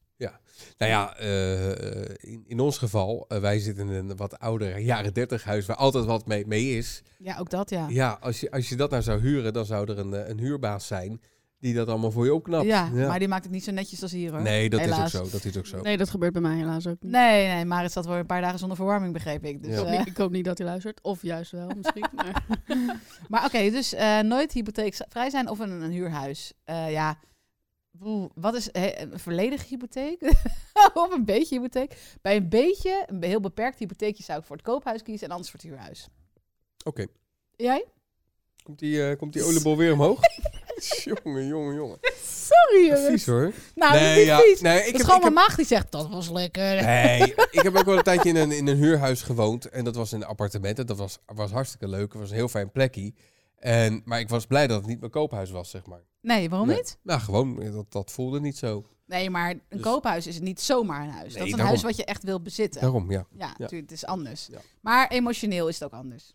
Speaker 5: Nou ja, eh, eh, in, in ons geval, eh, wij zitten in een wat ouder jaren 30 huis waar altijd wat mee, mee is.
Speaker 6: Ja, ook dat, ja.
Speaker 5: Ja, als je, als je dat nou zou huren, dan zou er een, eh, een huurbaas zijn die dat allemaal voor je opknapt.
Speaker 6: Ja, maar die maakt het niet zo netjes als hier, hoor.
Speaker 5: nee, dat
Speaker 6: Helaas.
Speaker 5: is ook zo. Dat is ook zo.
Speaker 7: Nee, dat gebeurt bij mij helaas ook niet.
Speaker 6: Nee, nee, maar het zat wel een paar dagen zonder verwarming, begreep ik. Dus,
Speaker 5: Ja.
Speaker 7: Ik, hoop
Speaker 6: eh,
Speaker 7: niet- ik hoop niet dat hij luistert. Of juist wel, misschien. Maar
Speaker 6: Maar oké, dus eh, nooit hypotheekvrij zijn of een, een huurhuis. Eh, ja, Oeh, wat is hè, een volledige hypotheek? [laughs] of een beetje hypotheek? Bij een beetje, een heel beperkt hypotheekje zou ik voor het koophuis kiezen en anders voor het huurhuis.
Speaker 5: Oké,
Speaker 6: Jij?
Speaker 5: komt die, eh, komt die oliebol
Speaker 6: [laughs]
Speaker 5: weer omhoog? jongen, jongen, jongen.
Speaker 6: Sorry,
Speaker 5: Vies hoor.
Speaker 6: Nou, dat is
Speaker 5: nee,
Speaker 6: niet
Speaker 5: ja,
Speaker 6: vies.
Speaker 5: nee, ik
Speaker 6: Het is
Speaker 5: heb,
Speaker 6: gewoon
Speaker 5: ik
Speaker 6: mijn
Speaker 5: heb,
Speaker 6: maag die zegt, dat was lekker.
Speaker 5: nee,
Speaker 6: [laughs]
Speaker 5: ik heb ook wel een tijdje in een, in een huurhuis gewoond. En dat was in een appartement. En dat was, was hartstikke leuk. Het was een heel fijn plekje. En, maar ik was blij dat het niet mijn koophuis was, zeg maar.
Speaker 6: Nee, waarom
Speaker 5: Nee.
Speaker 6: niet?
Speaker 5: Nou, gewoon, eh, dat, dat voelde niet zo.
Speaker 6: Nee, maar een
Speaker 5: Dus-
Speaker 6: koophuis is niet zomaar een huis. dat
Speaker 5: Nee,
Speaker 6: is een
Speaker 5: daarom.
Speaker 6: huis wat je echt wil bezitten.
Speaker 5: Daarom, ja.
Speaker 6: Ja, natuurlijk, het is anders.
Speaker 5: Ja.
Speaker 6: Maar emotioneel is het ook anders.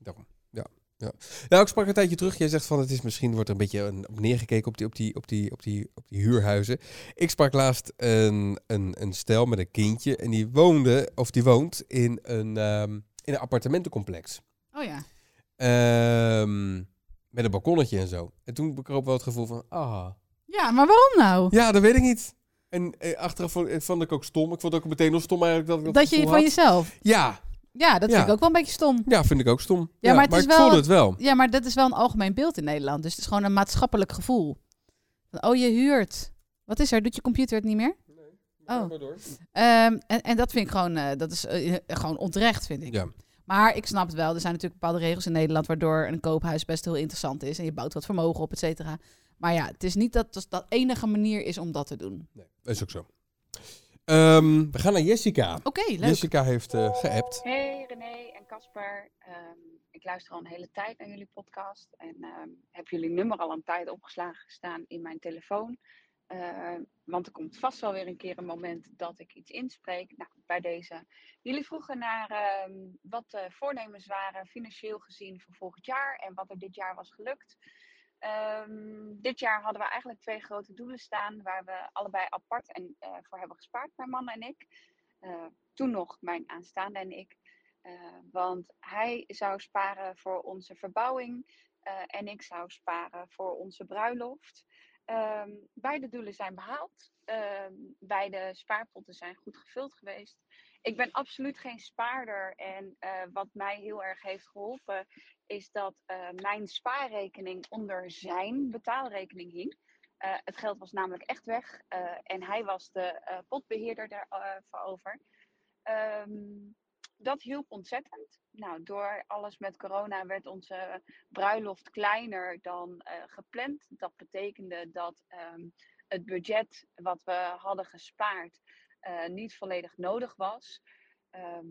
Speaker 5: Nou, ik sprak een tijdje terug. Jij zegt van het is misschien wordt er een beetje een, op neergekeken op die, op, die, op, die, op, die, op die huurhuizen. Ik sprak laatst een, een, een stel met een kindje. En die woonde, of die woont, in een, ehm, in een appartementencomplex.
Speaker 6: Oh ja.
Speaker 5: Ehm, met een balkonnetje en zo. En toen bekroop wel het gevoel van, ah,
Speaker 6: Ja, maar waarom nou?
Speaker 5: ja, dat weet ik niet. En eh, achteraf vond, eh, vond ik ook stom. Ik vond het ook meteen nog stom eigenlijk dat ik dat,
Speaker 6: Dat je
Speaker 5: gevoel
Speaker 6: van
Speaker 5: had.
Speaker 6: jezelf.
Speaker 5: Ja,
Speaker 6: Ja, dat
Speaker 5: Ja.
Speaker 6: vind ik ook wel een beetje stom.
Speaker 5: ja, vind ik ook stom.
Speaker 6: Ja, maar het is
Speaker 5: ik
Speaker 6: wel-
Speaker 5: voelde het wel.
Speaker 6: Ja, maar dat is wel een algemeen beeld in Nederland. Dus het is gewoon een maatschappelijk gevoel. Van, Oh, je huurt. Wat is er? Doet je computer het niet meer? Oh. Ehm, en, en dat vind ik gewoon, eh, dat is eh, gewoon onterecht, vind ik.
Speaker 5: Ja.
Speaker 6: Maar ik snap het wel. Er zijn natuurlijk bepaalde regels in Nederland waardoor een koophuis best heel interessant is. En je bouwt wat vermogen op, et cetera. Maar ja, het is niet dat dat, dat enige manier is om dat te doen.
Speaker 5: Nee, dat is ook zo. Ehm, we gaan naar Jessica.
Speaker 6: Oké, leuk.
Speaker 5: Jessica heeft eh, geappt.
Speaker 4: Hey René en Casper. Ehm, ik luister al een hele tijd naar jullie podcast. En ehm, heb jullie nummer al een tijd opgeslagen staan in mijn telefoon. Ehm, want er komt vast wel weer een keer een moment dat ik iets inspreek. Nou, bij deze. Jullie vroegen naar ehm, wat de voornemens waren financieel gezien voor volgend jaar. En wat er dit jaar was gelukt. Ehm, dit jaar hadden we eigenlijk twee grote doelen staan. Waar we allebei apart en, eh, voor hebben gespaard, mijn man en ik. Eh, toen nog mijn aanstaande en ik. Eh, want hij zou sparen voor onze verbouwing eh, en ik zou sparen voor onze bruiloft. Ehm, beide doelen zijn behaald. Ehm, beide spaarpotten zijn goed gevuld geweest. Ik ben absoluut geen spaarder en eh, wat mij heel erg heeft geholpen is dat eh, mijn spaarrekening onder zijn betaalrekening hing. Eh, het geld was namelijk echt weg eh, en hij was de eh, potbeheerder daarover. Ehm, dat hielp ontzettend. Nou, door alles met corona werd onze eh, bruiloft kleiner dan eh, gepland. Dat betekende dat ehm, het budget wat we hadden gespaard eh, niet volledig nodig was. Ehm,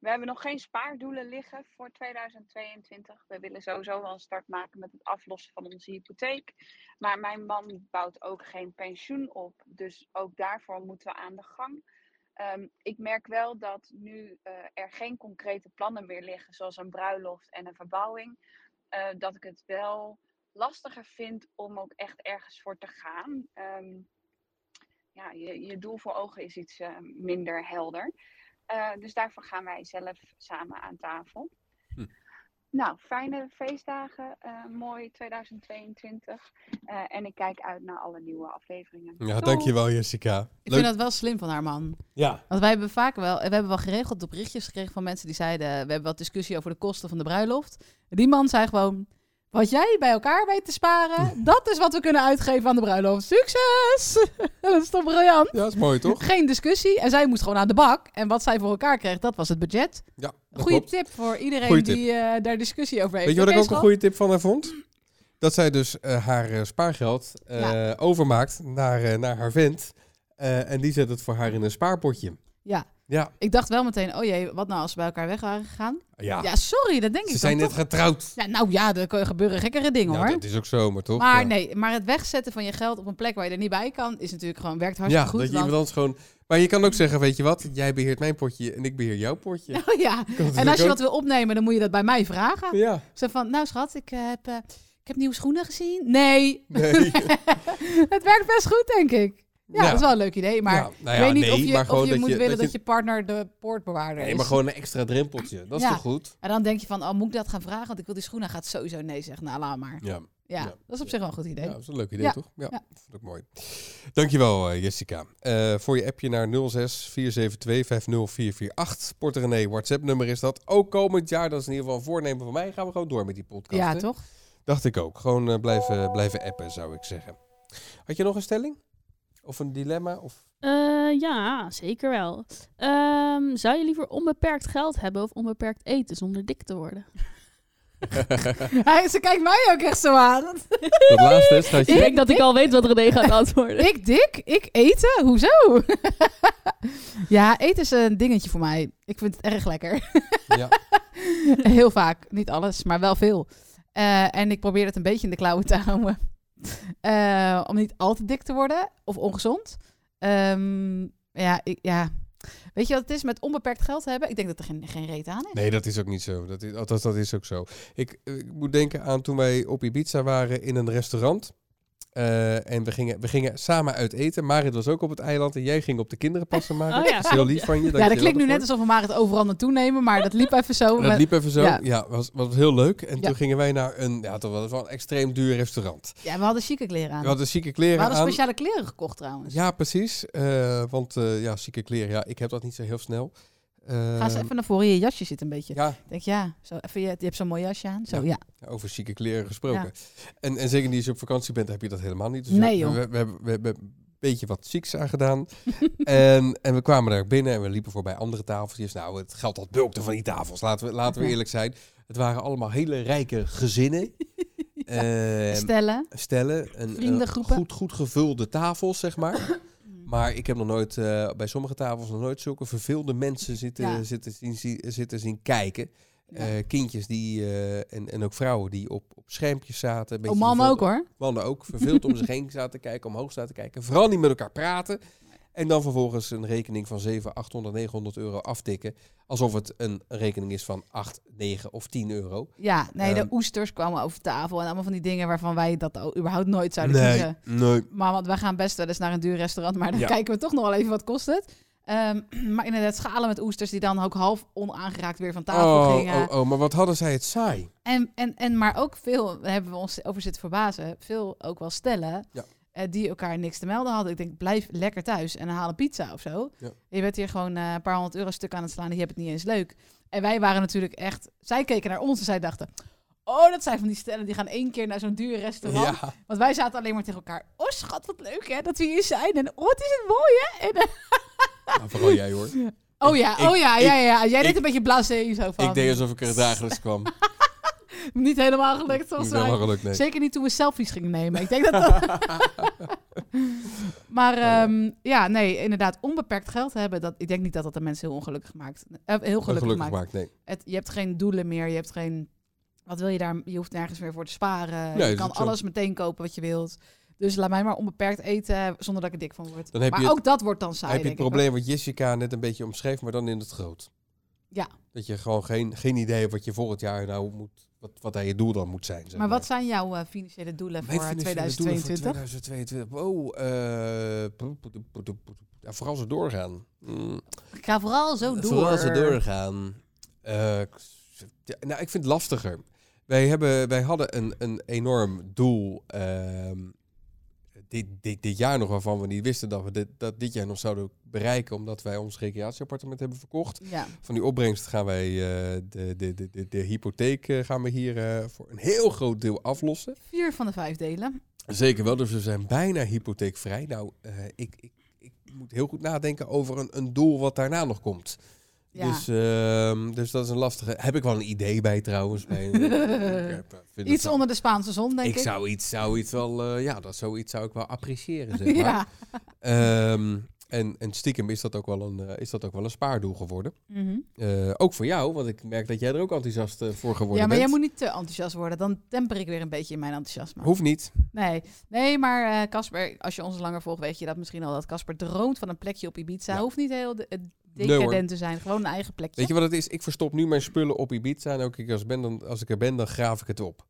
Speaker 4: we hebben nog geen spaardoelen liggen voor 2022. We willen sowieso wel een start maken met het aflossen van onze hypotheek. Maar mijn man bouwt ook geen pensioen op. Dus ook daarvoor moeten we aan de gang. Ehm, ik merk wel dat nu eh, er geen concrete plannen meer liggen, zoals een bruiloft en een verbouwing. eh, dat ik het wel lastiger vind om ook echt ergens voor te gaan. Ehm, ja, je, je doel voor ogen is iets eh, minder helder. Eh, dus daarvoor gaan wij zelf samen aan tafel.
Speaker 5: Hm.
Speaker 4: Nou, fijne feestdagen, eh, mooi 2022. Eh, en ik kijk uit naar alle nieuwe afleveringen.
Speaker 5: Ja,
Speaker 4: Doeg!
Speaker 5: dankjewel Jessica.
Speaker 6: Ik vind dat wel slim van haar man.
Speaker 5: Ja.
Speaker 6: Want wij hebben vaak wel, we hebben wel geregeld berichtjes gekregen van mensen die zeiden, we hebben wat discussie over de kosten van de bruiloft. Die man zei gewoon, wat jij bij elkaar weet te
Speaker 5: [laughs]
Speaker 6: sparen, dat is wat we kunnen uitgeven aan de bruiloft. Succes! [laughs] dat is toch briljant?
Speaker 5: ja, is mooi toch?
Speaker 6: Geen discussie. En zij moest gewoon aan de bak. En wat zij voor elkaar kreeg, dat was het budget.
Speaker 5: Ja, dat
Speaker 6: Goede
Speaker 5: klopt.
Speaker 6: tip voor iedereen
Speaker 5: Goeie tip.
Speaker 6: die eh, daar discussie over heeft.
Speaker 5: Weet je wat ik
Speaker 6: Oké,
Speaker 5: ook een
Speaker 6: schat?
Speaker 5: goede tip van haar vond? Dat zij dus eh, haar eh, spaargeld eh,
Speaker 6: Ja.
Speaker 5: overmaakt naar, eh, naar haar vent. Eh, en die zet het voor haar in een spaarpotje.
Speaker 6: Ja.
Speaker 5: Ja.
Speaker 6: Ik dacht wel meteen, oh jee, wat nou als ze bij elkaar weg waren gegaan?
Speaker 5: Ja.
Speaker 6: Ja, sorry, dat denk
Speaker 5: Ah. Ze
Speaker 6: ik
Speaker 5: zijn
Speaker 6: dan
Speaker 5: net
Speaker 6: toch.
Speaker 5: getrouwd.
Speaker 6: Ja, nou ja, er kunnen gebeuren gekkere dingen
Speaker 5: Ja,
Speaker 6: hoor.
Speaker 5: dat is ook zo, maar toch?
Speaker 6: Maar
Speaker 5: Ja.
Speaker 6: nee, maar het wegzetten van je geld op een plek waar je er niet bij kan, is natuurlijk gewoon werkt
Speaker 5: Ja,
Speaker 6: hartstikke goed.
Speaker 5: dat je
Speaker 6: want-
Speaker 5: iemand anders gewoon... Maar je kan ook zeggen, weet je wat? Jij beheert mijn potje en ik beheer jouw potje.
Speaker 6: Oh [laughs]
Speaker 5: [laughs]
Speaker 6: ja.
Speaker 5: Kan
Speaker 6: En als je
Speaker 5: natuurlijk
Speaker 6: dat wil opnemen, dan moet je dat bij mij
Speaker 5: ook.
Speaker 6: vragen. [laughs]
Speaker 5: Ja.
Speaker 6: Zo van, nou schat, ik eh, heb, eh, ik heb nieuwe schoenen gezien. Nee, [laughs]
Speaker 5: Nee.
Speaker 6: het werkt best goed, denk ik. Ja,
Speaker 5: Ja.
Speaker 6: dat is wel een leuk idee, maar
Speaker 5: Ja, nou ja,
Speaker 6: ik weet niet
Speaker 5: nee,
Speaker 6: of je,
Speaker 5: maar
Speaker 6: of
Speaker 5: gewoon
Speaker 6: je
Speaker 5: dat
Speaker 6: moet
Speaker 5: je-
Speaker 6: willen
Speaker 5: dat
Speaker 6: dat
Speaker 5: je-
Speaker 6: je partner de poortbewaarder
Speaker 5: Nee,
Speaker 6: is.
Speaker 5: maar gewoon een extra drempeltje. Dat is
Speaker 6: Ja.
Speaker 5: toch goed?
Speaker 6: En dan denk je van, oh, moet ik dat gaan vragen? Want ik wil die schoenen. Hij Gaat sowieso nee zeggen. Nou, laat maar.
Speaker 5: Ja.
Speaker 6: Ja,
Speaker 5: Ja.
Speaker 6: dat is op zich wel een goed idee.
Speaker 5: Ja, dat is een leuk idee,
Speaker 6: Ja.
Speaker 5: toch? Ja,
Speaker 6: Ja.
Speaker 5: vond ik mooi. Dankjewel, eh, Jessica. Eh, voor je appje naar 06 472 50448. Porte René, WhatsApp-nummer is dat. Ook komend jaar, dat is in ieder geval een voornemen van mij, gaan we gewoon door met die podcast.
Speaker 6: Ja,
Speaker 5: hè?
Speaker 6: toch? [laughs]
Speaker 5: Dacht ik ook. Gewoon eh, blijven, blijven appen, zou ik zeggen. Had je nog een stelling? Of een dilemma? Of...
Speaker 7: Eh, ja, zeker wel. Ehm, zou je liever onbeperkt geld hebben of onbeperkt eten zonder dik te worden?
Speaker 6: Hij, ze kijkt mij ook echt zo aan.
Speaker 5: Dat laatste,
Speaker 7: Ik
Speaker 5: schatje.
Speaker 7: denk dat ik al weet wat René gaat antwoorden.
Speaker 6: Ik dik? Ik eten? Hoezo? [laughs] ja, eten is een dingetje voor mij. Ik vind het erg lekker.
Speaker 5: Ja.
Speaker 6: [laughs] Heel vaak. Niet alles, maar wel veel. Eh, en ik probeer het een beetje in de klauwen te houden. [laughs] Eh, om niet al te dik te worden of ongezond. Ehm, ja, ik, ja, weet je wat het is met onbeperkt geld hebben? Ik denk dat er geen, geen reet aan is.
Speaker 5: Nee, dat is ook niet zo. Dat is, althans, dat is ook zo. Ik, eh, ik moet denken aan toen wij op Ibiza waren in een restaurant. Eh, en we gingen, we gingen samen uit eten. Marit was ook op het eiland en jij ging op de kinderen passen maken.
Speaker 7: Oh ja,
Speaker 5: Dat is heel
Speaker 7: klopt,
Speaker 5: lief
Speaker 7: ja.
Speaker 5: van je.
Speaker 6: ja,
Speaker 5: Dank
Speaker 6: dat
Speaker 5: je wel
Speaker 6: klinkt nu net
Speaker 5: daarvoor.
Speaker 6: alsof we maar het overal naartoe nemen, maar dat
Speaker 5: [laughs]
Speaker 6: liep even zo.
Speaker 5: Dat
Speaker 6: Maar-
Speaker 5: liep even zo. Ja,
Speaker 6: Ja.
Speaker 5: was, was heel leuk. En
Speaker 6: Ja.
Speaker 5: toen gingen wij naar een, ja, toch wel wel een extreem duur restaurant.
Speaker 6: Ja, we hadden chique kleren aan.
Speaker 5: We hadden chique
Speaker 6: We
Speaker 5: kleren
Speaker 6: hadden
Speaker 5: aan.
Speaker 6: speciale kleren gekocht trouwens.
Speaker 5: Ja, precies. Eh, want eh, ja, zieke kleren, ja, ik heb dat niet zo heel snel.
Speaker 6: Ga eens
Speaker 5: Ehm,
Speaker 6: even naar voren, je jasje zit een beetje.
Speaker 5: ja,
Speaker 6: Ik denk, ja, zo even, je, je hebt zo'n mooi jasje aan. Zo,
Speaker 5: Ja.
Speaker 6: ja.
Speaker 5: Over zieke kleren gesproken. En, en zeker als je op vakantie bent, heb je dat helemaal niet. Dus
Speaker 6: Nee,
Speaker 5: we,
Speaker 6: joh.
Speaker 5: we, we, hebben- we hebben een beetje wat zieks aan gedaan. [laughs] en, en we kwamen daar binnen en we liepen voorbij andere tafeltjes. Nou, het geld dat bulkte van die tafels, laten we,
Speaker 6: [laughs]
Speaker 5: laten we
Speaker 6: Ja.
Speaker 5: eerlijk zijn. Het waren allemaal hele rijke
Speaker 6: [laughs]
Speaker 5: gezinnen. Ehm,
Speaker 6: Stellen.
Speaker 5: stellen. Een,
Speaker 6: Vriendengroepen.
Speaker 5: een goed, goed gevulde tafels, zeg maar.
Speaker 6: [clears throat]
Speaker 5: Maar ik heb nog nooit, eh, bij sommige tafels nog nooit zulke verveelde mensen zitten,
Speaker 6: Ja.
Speaker 5: zitten, zien, zie- zitten zien kijken. Eh, kindjes die, eh, en, en ook vrouwen die op, op schermpjes zaten. een
Speaker 6: Oh,
Speaker 5: beetje
Speaker 6: man
Speaker 5: verveeld-
Speaker 6: ook hoor.
Speaker 5: Mannen ook,
Speaker 6: [laughs]
Speaker 5: verveeld om zich heen zaten te kijken, omhoog zaten te kijken. Vooral niet met elkaar praten. En dan vervolgens een rekening van 7, 800, 900 euro aftikken. Alsof het een rekening is van 8, 9 of 10 euro.
Speaker 6: Ja, nee,
Speaker 5: Ehm.
Speaker 6: de oesters kwamen over tafel en allemaal van die dingen waarvan wij dat al überhaupt nooit zouden kiezen.
Speaker 5: nee.
Speaker 6: Maar want wij gaan best wel eens naar een duur restaurant, maar dan
Speaker 5: Ja.
Speaker 6: kijken we toch nog wel even wat kost het. Ehm, [clears throat] maar inderdaad, schalen met oesters die dan ook half onaangeraakt weer van tafel
Speaker 5: Oh,
Speaker 6: gingen.
Speaker 5: oh, oh, maar wat hadden zij het saai.
Speaker 6: En, en, en maar ook veel, daar hebben we ons over zitten verbazen, veel ook wel stellen
Speaker 5: Ja.
Speaker 6: eh, die elkaar niks te melden hadden. Ik denk, blijf lekker thuis en haal een pizza of zo.
Speaker 5: Ja.
Speaker 6: Je bent hier gewoon eh, een paar honderd euro stuk aan het slaan en je hebt het niet eens leuk. En wij waren natuurlijk echt, zij keken naar ons en zij dachten, oh dat zijn van die stellen die gaan één keer naar zo'n duur restaurant. [laughs]
Speaker 5: Ja,
Speaker 6: Want wij zaten alleen maar tegen elkaar, oh schat wat leuk hè, dat we hier zijn en oh wat is het mooi hè. En, eh,
Speaker 5: nou, vooral jij hoor.
Speaker 6: oh ja,
Speaker 5: ik-
Speaker 6: oh ja,
Speaker 5: ik-
Speaker 6: ja, ja. Jij
Speaker 5: ik-
Speaker 6: deed een beetje blasé zo van,
Speaker 5: Ik deed alsof ik er
Speaker 6: [laughs]
Speaker 5: dagelijks kwam.
Speaker 6: niet helemaal gelukt volgens
Speaker 5: Niet
Speaker 6: mij.
Speaker 5: helemaal gelukt, nee.
Speaker 6: Zeker niet toen we selfies gingen nemen. Ik denk dat dat... [laughs] Maar
Speaker 5: Oh ja.
Speaker 6: ehm, ja, nee, inderdaad, onbeperkt geld hebben. Dat, ik denk niet dat dat de mensen heel ongelukkig maakt. Eh, heel gelukkig,
Speaker 5: Gelukkig
Speaker 6: maakt.
Speaker 5: gemaakt, nee.
Speaker 6: Het, je hebt geen doelen meer. Je hebt geen. Wat wil je daar? Je hoeft nergens meer voor te sparen.
Speaker 5: dat
Speaker 6: je
Speaker 5: is
Speaker 6: kan
Speaker 5: ook zo.
Speaker 6: alles meteen kopen wat je wilt. Dus laat mij maar onbeperkt eten eh, zonder dat ik er dik van word.
Speaker 5: Dan heb
Speaker 6: maar
Speaker 5: je het-
Speaker 6: ook dat wordt dan saai.
Speaker 5: heb je het
Speaker 6: denk Nou, ik wel.
Speaker 5: probleem wat Jessica net een beetje omschreef, maar dan in het groot.
Speaker 6: Ja.
Speaker 5: Dat je gewoon geen, geen idee hebt wat je volgend jaar nou moet, wat, wat daar je doel dan moet zijn. zeg
Speaker 6: Maar wat zijn jouw eh, financiële doelen
Speaker 5: Mijn
Speaker 6: voor
Speaker 5: financiële doelen
Speaker 6: 2022?
Speaker 5: Voor 2022? Wow, eh, poe- poe- poe- poe- poe- poe- ja, vooral zo doorgaan. Mm,
Speaker 6: Ik ga vooral zo Oh, door.
Speaker 5: Vooral zo Eh, doorgaan. Eh, ik- ja, nou, ik vind het lastiger. Wij, hebben, wij hadden een, een enorm doel ehm, dit, dit, dit jaar nog, waarvan we niet wisten dat we dit, dat dit jaar nog zouden bereiken, omdat wij ons recreatieappartement hebben verkocht.
Speaker 6: Ja.
Speaker 5: Van die opbrengst gaan wij eh, de, de, de, de, de hypotheek eh, gaan we hier eh, voor een heel groot deel aflossen.
Speaker 6: Vier van de vijf delen.
Speaker 5: Zeker wel, dus we zijn bijna hypotheekvrij. Nou, eh, ik, ik, ik moet heel goed nadenken over een, een doel wat daarna nog komt.
Speaker 6: Ja.
Speaker 5: Dus, ehm, dus dat is een lastige. Heb ik wel een idee bij trouwens.
Speaker 6: [laughs]
Speaker 5: Bij, ik heb, eh, vind het
Speaker 6: Iets
Speaker 5: wel-
Speaker 6: onder de Spaanse zon, denk ik.
Speaker 5: Ik
Speaker 6: [laughs]
Speaker 5: zou iets, zou iets wel, eh, ja, dat zoiets zou ik wel
Speaker 6: [laughs]
Speaker 5: appreciëren. Zeg maar.
Speaker 6: ja.
Speaker 5: Ehm, en, en stiekem is dat ook wel een, eh, is dat ook wel een spaardoel geworden.
Speaker 6: Mhm.
Speaker 5: Eh, ook voor jou, want ik merk dat jij er ook enthousiast eh, voor
Speaker 6: ja,
Speaker 5: geworden
Speaker 6: maar jij
Speaker 5: bent.
Speaker 6: moet niet te enthousiast worden. Dan temper ik weer een beetje in mijn enthousiasme.
Speaker 5: Hoeft niet.
Speaker 6: Nee, nee maar eh, Casper, als je ons langer volgt, weet je dat misschien al. Dat Casper droomt van een plekje op Ibiza.
Speaker 5: Ja.
Speaker 6: Hoeft niet heel de, eh,
Speaker 5: Nee, hoor.
Speaker 6: decadent te zijn. Gewoon een eigen plekje.
Speaker 5: Weet je wat het is? Ik verstop nu mijn spullen op Ibiza. En ook ik als, ben dan, als ik er ben, dan graaf ik het op.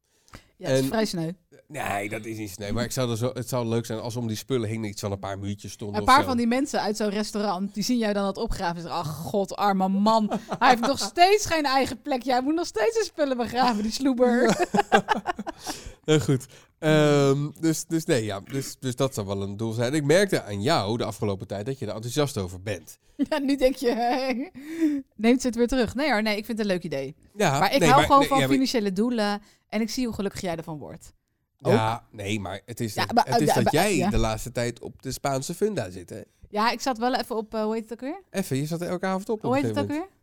Speaker 6: ja, het is
Speaker 5: en-
Speaker 6: vrij sneu.
Speaker 5: Nee, dat is niet sneu. Maar ik zou er zo, het zou leuk zijn als om die spullen heen iets van een paar muurtjes stonden.
Speaker 6: Een
Speaker 5: of
Speaker 6: paar
Speaker 5: zo.
Speaker 6: van die mensen uit zo'n restaurant, die zien jou dan aan het opgraven. en zeggen, Ach, god, arme
Speaker 5: [laughs]
Speaker 6: man. Hij heeft nog steeds geen eigen plekje. Hij moet nog steeds zijn spullen begraven, die sloeber.
Speaker 5: Eh, goed. Ehm, dus, dus nee, ja. Dus, dus dat zou wel een doel zijn. Ik merkte aan jou de afgelopen tijd dat je er enthousiast over
Speaker 6: [laughs]
Speaker 5: bent.
Speaker 6: Ja, nu denk je, hè, neemt ze het weer terug. Nee hoor, nee, ik vind het een leuk idee.
Speaker 5: Ja,
Speaker 6: maar ik
Speaker 5: Ah, nee,
Speaker 6: hou gewoon
Speaker 5: nee,
Speaker 6: van
Speaker 5: ja, maar-
Speaker 6: financiële doelen. En ik zie hoe gelukkig jij ervan wordt. ook.
Speaker 5: Ja, nee, maar het is
Speaker 6: Ja,
Speaker 5: dat,
Speaker 6: maar-
Speaker 5: het is
Speaker 6: ja,
Speaker 5: dat
Speaker 6: maar-
Speaker 5: jij
Speaker 6: ja.
Speaker 5: de laatste tijd op de Spaanse funda zit. Hè?
Speaker 6: Ja, ik zat wel even op, eh, hoe heet het ook weer?
Speaker 5: Even, je zat er elke avond op. op
Speaker 6: Hoe
Speaker 5: een
Speaker 6: heet het ook
Speaker 5: gegeven
Speaker 6: weer?
Speaker 5: moment.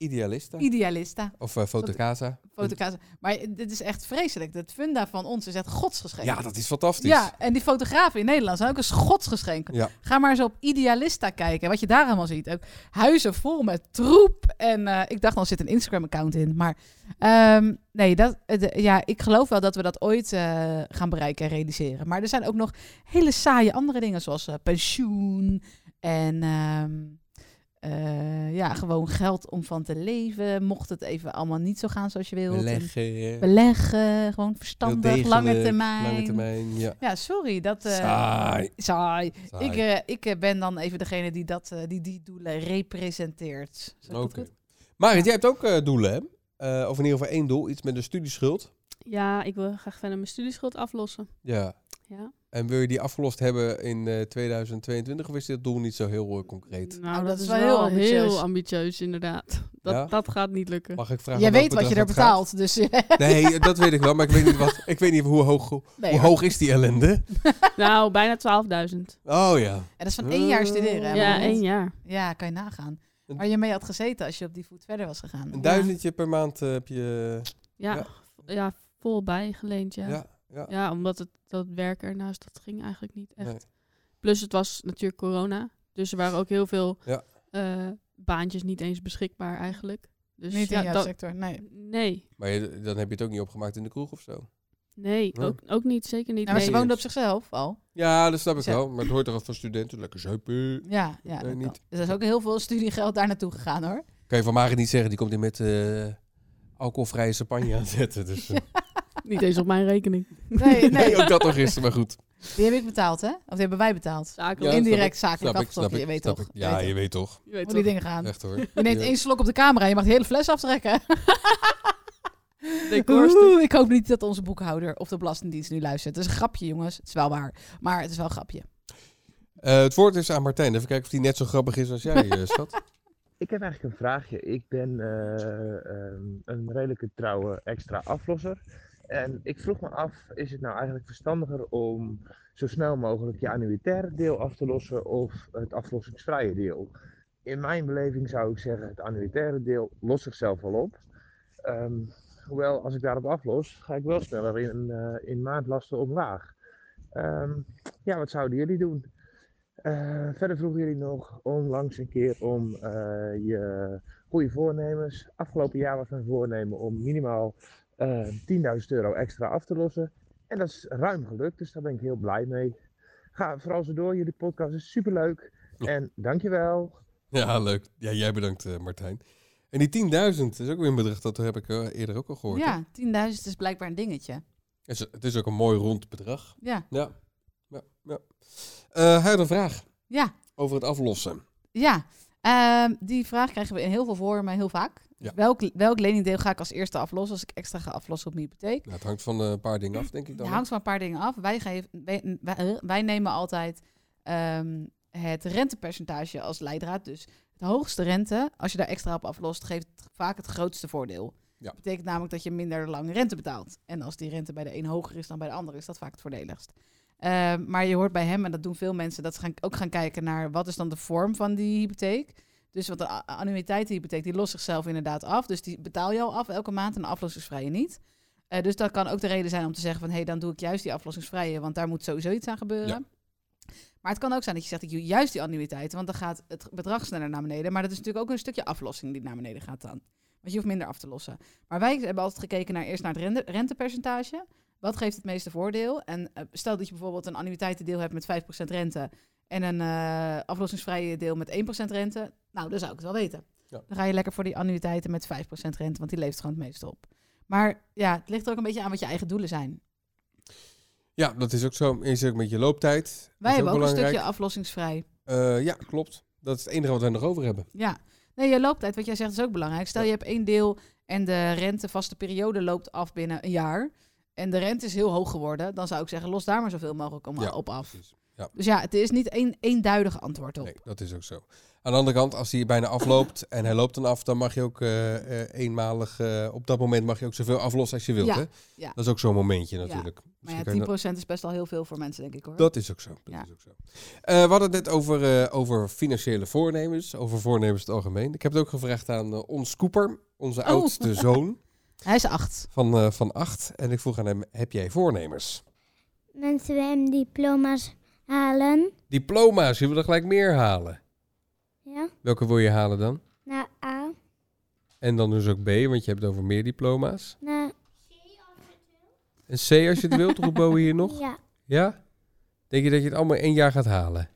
Speaker 5: Idealista.
Speaker 6: Idealista.
Speaker 5: of eh Fotocasa.
Speaker 6: Fotokaas. Maar dit is echt vreselijk. Dat funda van ons is echt godsgeschenk.
Speaker 5: Ja, dat is fantastisch.
Speaker 6: Ja, en die fotografen in Nederland zijn ook een godsgeschenk.
Speaker 5: Ja.
Speaker 6: Ga maar eens op Idealista kijken, wat je daar allemaal ziet. Ook huizen vol met troep. En eh, ik dacht, dan zit een Instagram-account in. Maar ehm, nee, dat, eh, de- ja, ik geloof wel dat we dat ooit eh, gaan bereiken en realiseren. Maar er zijn ook nog hele saaie andere dingen, zoals eh, pensioen en... ehm, eh, ja, gewoon geld om van te leven. Mocht het even allemaal niet zo gaan zoals je wilt. En
Speaker 5: Beleggen. heel
Speaker 6: Beleggen, gewoon verstandig,
Speaker 5: degelijk,
Speaker 6: lange termijn.
Speaker 5: Lange termijn, ja.
Speaker 6: Ja, sorry. Dat, eh,
Speaker 5: Saai.
Speaker 6: Saai.
Speaker 5: Saai.
Speaker 6: Ik, eh, ik eh, ben dan even degene die dat, eh, die, die doelen representeert. Zeg ik dat
Speaker 5: Oké.
Speaker 6: goed?
Speaker 5: Marit, jij hebt ook eh, doelen, hè? Eh, of in ieder geval één doel, iets met een studieschuld.
Speaker 7: Ja, ik wil graag verder mijn studieschuld aflossen.
Speaker 5: Ja.
Speaker 7: Ja.
Speaker 5: En wil je die afgelost hebben in eh, 2022 of is dit doel niet zo heel eh, concreet?
Speaker 7: Nou,
Speaker 6: dat
Speaker 7: dat,
Speaker 6: is
Speaker 7: is
Speaker 6: wel
Speaker 7: wel
Speaker 6: heel
Speaker 7: heel
Speaker 6: ambitieus.
Speaker 7: ambitieus, inderdaad. Dat,
Speaker 5: Ja?
Speaker 7: dat gaat niet lukken.
Speaker 5: Mag ik vragen?
Speaker 6: Jij
Speaker 5: welk
Speaker 6: weet wat je er
Speaker 5: bedrag dat gaat?
Speaker 6: betaalt, dus [laughs] eh,
Speaker 5: [laughs] Nee, dat weet ik wel, maar ik weet niet, wat, ik weet niet hoe, hoog, hoe,
Speaker 6: nee,
Speaker 5: hoe
Speaker 6: hoor.
Speaker 5: hoog is die ellende.
Speaker 7: nou, bijna 12.000.
Speaker 5: Oh ja.
Speaker 6: En dat is van één jaar studeren. hè,
Speaker 7: Ja,
Speaker 6: man?
Speaker 7: één jaar.
Speaker 6: Ja, kan je nagaan. Waar je mee had gezeten als je op die voet verder was gegaan.
Speaker 5: Een duizendje per maand eh, heb je.
Speaker 7: Ja,
Speaker 5: Ja.
Speaker 7: ja. vol bijgeleend, ja.
Speaker 5: Ja,
Speaker 7: ja.
Speaker 5: ja.
Speaker 7: omdat het, dat werk ernaast, dat ging eigenlijk niet echt.
Speaker 5: Nee.
Speaker 7: Plus het was natuurlijk corona. Dus er waren ook heel veel
Speaker 5: Ja.
Speaker 7: eh, baantjes niet eens beschikbaar eigenlijk. Dus
Speaker 6: Niet in
Speaker 7: ja,
Speaker 6: jouw
Speaker 7: dat-
Speaker 6: sector, nee.
Speaker 7: Nee,
Speaker 5: Maar je, dan heb je het ook niet opgemaakt in de kroeg of zo.
Speaker 7: nee,
Speaker 5: Ja.
Speaker 7: ook, ook niet. Zeker niet.
Speaker 6: Nou, maar ze
Speaker 7: nee.
Speaker 6: woonde op zichzelf al.
Speaker 5: Ja, dat snap ik
Speaker 6: Zo.
Speaker 5: wel. Maar het hoort toch al van studenten. Lekker zuipen.
Speaker 6: Ja, ja.
Speaker 5: Nee,
Speaker 6: dat
Speaker 5: niet.
Speaker 6: kan. Dus er is ook heel veel studiegeld daar naartoe gegaan hoor.
Speaker 5: Kan je van Marit niet zeggen, die komt hier met eh, alcoholvrije champagne aan zetten. Dus, eh,
Speaker 7: [laughs] Niet eens op mijn rekening.
Speaker 6: [laughs] Nee, [laughs] nee.
Speaker 5: nee, [laughs] ook dat nog is, maar goed.
Speaker 6: Die heb ik betaald hè? Of die hebben wij betaald.
Speaker 7: Zakelijk.
Speaker 5: Ja,
Speaker 6: Indirect
Speaker 5: Snap
Speaker 6: zakelijk
Speaker 5: ik, snap
Speaker 6: afgetrokken,
Speaker 5: ik.
Speaker 6: je weet
Speaker 5: snap
Speaker 6: toch.
Speaker 5: ik. Ja, je weet toch.
Speaker 7: Je weet
Speaker 6: Hoe die
Speaker 7: toch,
Speaker 6: dingen gaan.
Speaker 5: Echt hoor.
Speaker 6: Je neemt
Speaker 5: Ja.
Speaker 6: één slok op de camera en je mag de hele fles aftrekken.
Speaker 7: decorstuk.
Speaker 6: Oeh, ik hoop niet dat onze boekhouder of de Belastingdienst nu luistert. Het is een grapje, jongens. Het is wel waar. Maar het is wel een grapje.
Speaker 5: Eh, het woord is aan Martijn. Even kijken of die net zo grappig is als jij, eh,
Speaker 6: [laughs]
Speaker 5: schat.
Speaker 8: Ik heb eigenlijk een vraagje. Ik ben eh, ehm, een redelijke trouwe extra aflosser. En ik vroeg me af, is het nou eigenlijk verstandiger om zo snel mogelijk je annuitaire deel af te lossen of het aflossingsvrije deel? In mijn beleving zou ik zeggen, het annuitaire deel lost zichzelf wel op. Ehm, hoewel, als ik daarop aflos, ga ik wel sneller in, eh, in maandlasten omlaag. Ehm, ja, wat zouden jullie doen? Eh, verder vroegen jullie nog onlangs een keer om eh, je goede voornemens. Afgelopen jaar was mijn voornemen om minimaal eh 10.000 euro extra af te lossen. En dat is ruim gelukt, dus daar ben ik heel blij mee. Ga vooral zo door, jullie podcast is superleuk.
Speaker 5: Ja.
Speaker 8: En dankjewel.
Speaker 5: Ja, leuk. Ja, jij bedankt, eh, Martijn. En die 10.000 is ook weer een bedrag, dat heb ik eh, eerder ook al gehoord. hè?
Speaker 6: Ja, 10.000 is blijkbaar een dingetje.
Speaker 5: Het, is, het is ook een mooi rond bedrag.
Speaker 6: Ja,
Speaker 5: Ja. ja, ja. Eh, hij had een vraag
Speaker 6: ja,
Speaker 5: over het aflossen.
Speaker 6: ja. Ehm, die vraag krijgen we heel veel voor, maar heel vaak.
Speaker 5: Ja.
Speaker 6: Welk, welk leningdeel ga ik als eerste aflossen als ik extra ga aflossen op mijn hypotheek?
Speaker 5: Nou, het hangt van eh, een paar dingen af, denk ik dan.
Speaker 6: Het hangt van een paar dingen af. Wij, geven, wij, wij- eh, wij nemen altijd ehm, het rentepercentage als leidraad. Dus de hoogste rente, als je daar extra op aflost, geeft het vaak het grootste voordeel.
Speaker 5: Ja.
Speaker 6: Dat betekent namelijk dat je minder lang rente betaalt. En als die rente bij de een hoger is dan bij de ander, is dat vaak het voordeligst. Ehm, maar je hoort bij hem, en dat doen veel mensen, dat ze gaan, ook gaan kijken naar wat is dan de vorm van die hypotheek. Dus wat de a- annuïteitenhypotheek, die lost zichzelf inderdaad af. Dus die betaal je al af elke maand en de aflossingsvrije niet. Eh, dus dat kan ook de reden zijn om te zeggen van... hé, hey, dan doe ik juist die aflossingsvrije... want daar moet sowieso iets aan gebeuren.
Speaker 5: Ja.
Speaker 6: Maar het kan ook zijn dat je zegt... ik doe juist die annuïteit, want dan gaat het bedrag sneller naar beneden. Maar dat is natuurlijk ook een stukje aflossing die naar beneden gaat dan. Want je hoeft minder af te lossen. Maar wij hebben altijd gekeken naar eerst naar het rende- rentepercentage. Wat geeft het meeste voordeel? En eh, stel dat je bijvoorbeeld een annuïteitendeel hebt met 5% rente... en een eh, aflossingsvrije deel met 1% rente... nou, dan zou ik het wel weten.
Speaker 5: Ja.
Speaker 6: Dan ga je lekker voor die annuïteiten met 5% rente... want die levert gewoon het meeste op. Maar ja, het ligt er ook een beetje aan wat je eigen doelen zijn.
Speaker 5: Ja, dat is ook zo. Is ook met je looptijd. Dat
Speaker 6: Wij
Speaker 5: is
Speaker 6: hebben ook
Speaker 5: belangrijk.
Speaker 6: een stukje aflossingsvrij.
Speaker 5: Eh, ja, klopt. Dat is het enige wat wij nog over hebben.
Speaker 6: Ja. Nee, je looptijd, wat jij zegt, is ook belangrijk. Stel,
Speaker 5: Ja.
Speaker 6: je hebt één deel en de rentevaste periode loopt af binnen een jaar. En de rente is heel hoog geworden. Dan zou ik zeggen, los daar maar zoveel mogelijk om,
Speaker 5: Ja,
Speaker 6: op af.
Speaker 5: precies.
Speaker 6: Dus ja, het is niet één eenduidig antwoord op.
Speaker 5: Nee, dat is ook zo. Aan de andere kant, als hij bijna afloopt en hij loopt dan af, dan mag je ook eh, eh, eenmalig, eh, op dat moment mag je ook zoveel aflossen als je wilt.
Speaker 6: Ja,
Speaker 5: Hè?
Speaker 6: ja.
Speaker 5: Dat is ook zo'n momentje natuurlijk.
Speaker 6: Maar
Speaker 5: Misschien
Speaker 6: ja,
Speaker 5: kan je
Speaker 6: 10%
Speaker 5: dat-
Speaker 6: is best al heel veel voor mensen, denk ik hoor.
Speaker 5: Dat is ook zo. Dat
Speaker 6: Ja.
Speaker 5: is ook zo. Eh, we hadden het net over, eh, over financiële voornemens, over voornemens in het algemeen. Ik heb het ook gevraagd aan eh, ons Cooper, onze
Speaker 6: Oh. [laughs]
Speaker 5: oudste zoon
Speaker 6: Hij is acht.
Speaker 5: van, eh, van acht. En ik vroeg aan hem, heb jij voornemens?
Speaker 9: Mensen bij hem diploma's halen.
Speaker 5: Diploma's, je wil er gelijk meer halen.
Speaker 9: Ja,
Speaker 5: Welke wil je halen dan?
Speaker 9: naar A,
Speaker 5: En dan dus ook B, want je hebt het over meer diploma's.
Speaker 9: naar
Speaker 5: En C als je het wilt, roepen we hier nog.
Speaker 9: Ja,
Speaker 5: Ja? Denk je dat je het allemaal in één jaar gaat halen?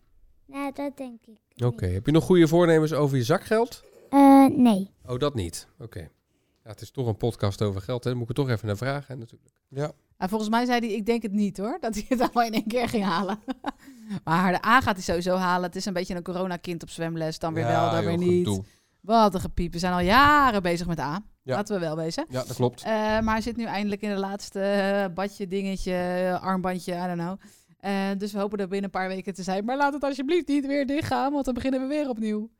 Speaker 9: nou, dat denk ik.
Speaker 5: Oké. Heb je nog goede voornemens over je zakgeld?
Speaker 9: Eh, nee.
Speaker 5: Oh, dat niet. Oké. Ja, het is toch een podcast over geld, hè? Dan moet ik er toch even naar vragen, hè, natuurlijk. Ja.
Speaker 6: En Nou, volgens mij zei hij, ik denk het niet hoor, [laughs] dat hij het allemaal in één keer ging halen. [laughs] maar de A gaat hij sowieso halen. Het is een beetje een coronakind op zwemles. Dan weer wel, dan weer niet. Wat een gepiep. We zijn al jaren bezig met A.
Speaker 5: Ja.
Speaker 6: Laten we wel wezen.
Speaker 5: Ja, dat klopt.
Speaker 6: Eh, maar hij zit nu eindelijk in de laatste eh, badje, dingetje, eh, armbandje, I don't know. Eh, dus we hopen er binnen een paar weken te zijn. Maar laat het alsjeblieft niet weer dichtgaan, want dan beginnen we weer opnieuw.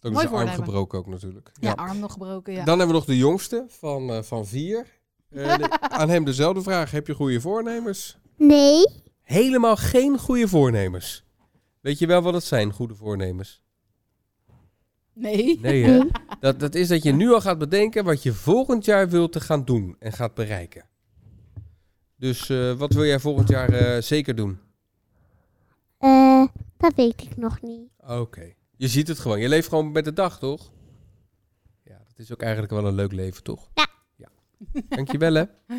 Speaker 5: Ook
Speaker 6: mooi
Speaker 5: zijn arm
Speaker 6: voornemen.
Speaker 5: gebroken ook natuurlijk.
Speaker 6: Ja, arm nog gebroken, ja.
Speaker 5: Dan hebben we nog de jongste van, eh, van vier. Eh, de- aan hem dezelfde vraag. Heb je goede voornemens?
Speaker 9: Nee?
Speaker 5: Helemaal geen goede voornemens. Weet je wel wat het zijn, goede voornemens?
Speaker 6: Nee.
Speaker 5: Nee, hè? Dat, dat is dat je nu al gaat bedenken wat je volgend jaar wilt te gaan doen en gaat bereiken. Dus eh, wat wil jij volgend jaar eh, zeker doen?
Speaker 9: Eh, dat weet ik nog niet.
Speaker 5: Oké. Je ziet het gewoon. Je leeft gewoon met de dag, toch? Ja, dat is ook eigenlijk wel een leuk leven, toch?
Speaker 9: Ja.
Speaker 5: ja. Dankjewel, hè?
Speaker 6: [laughs]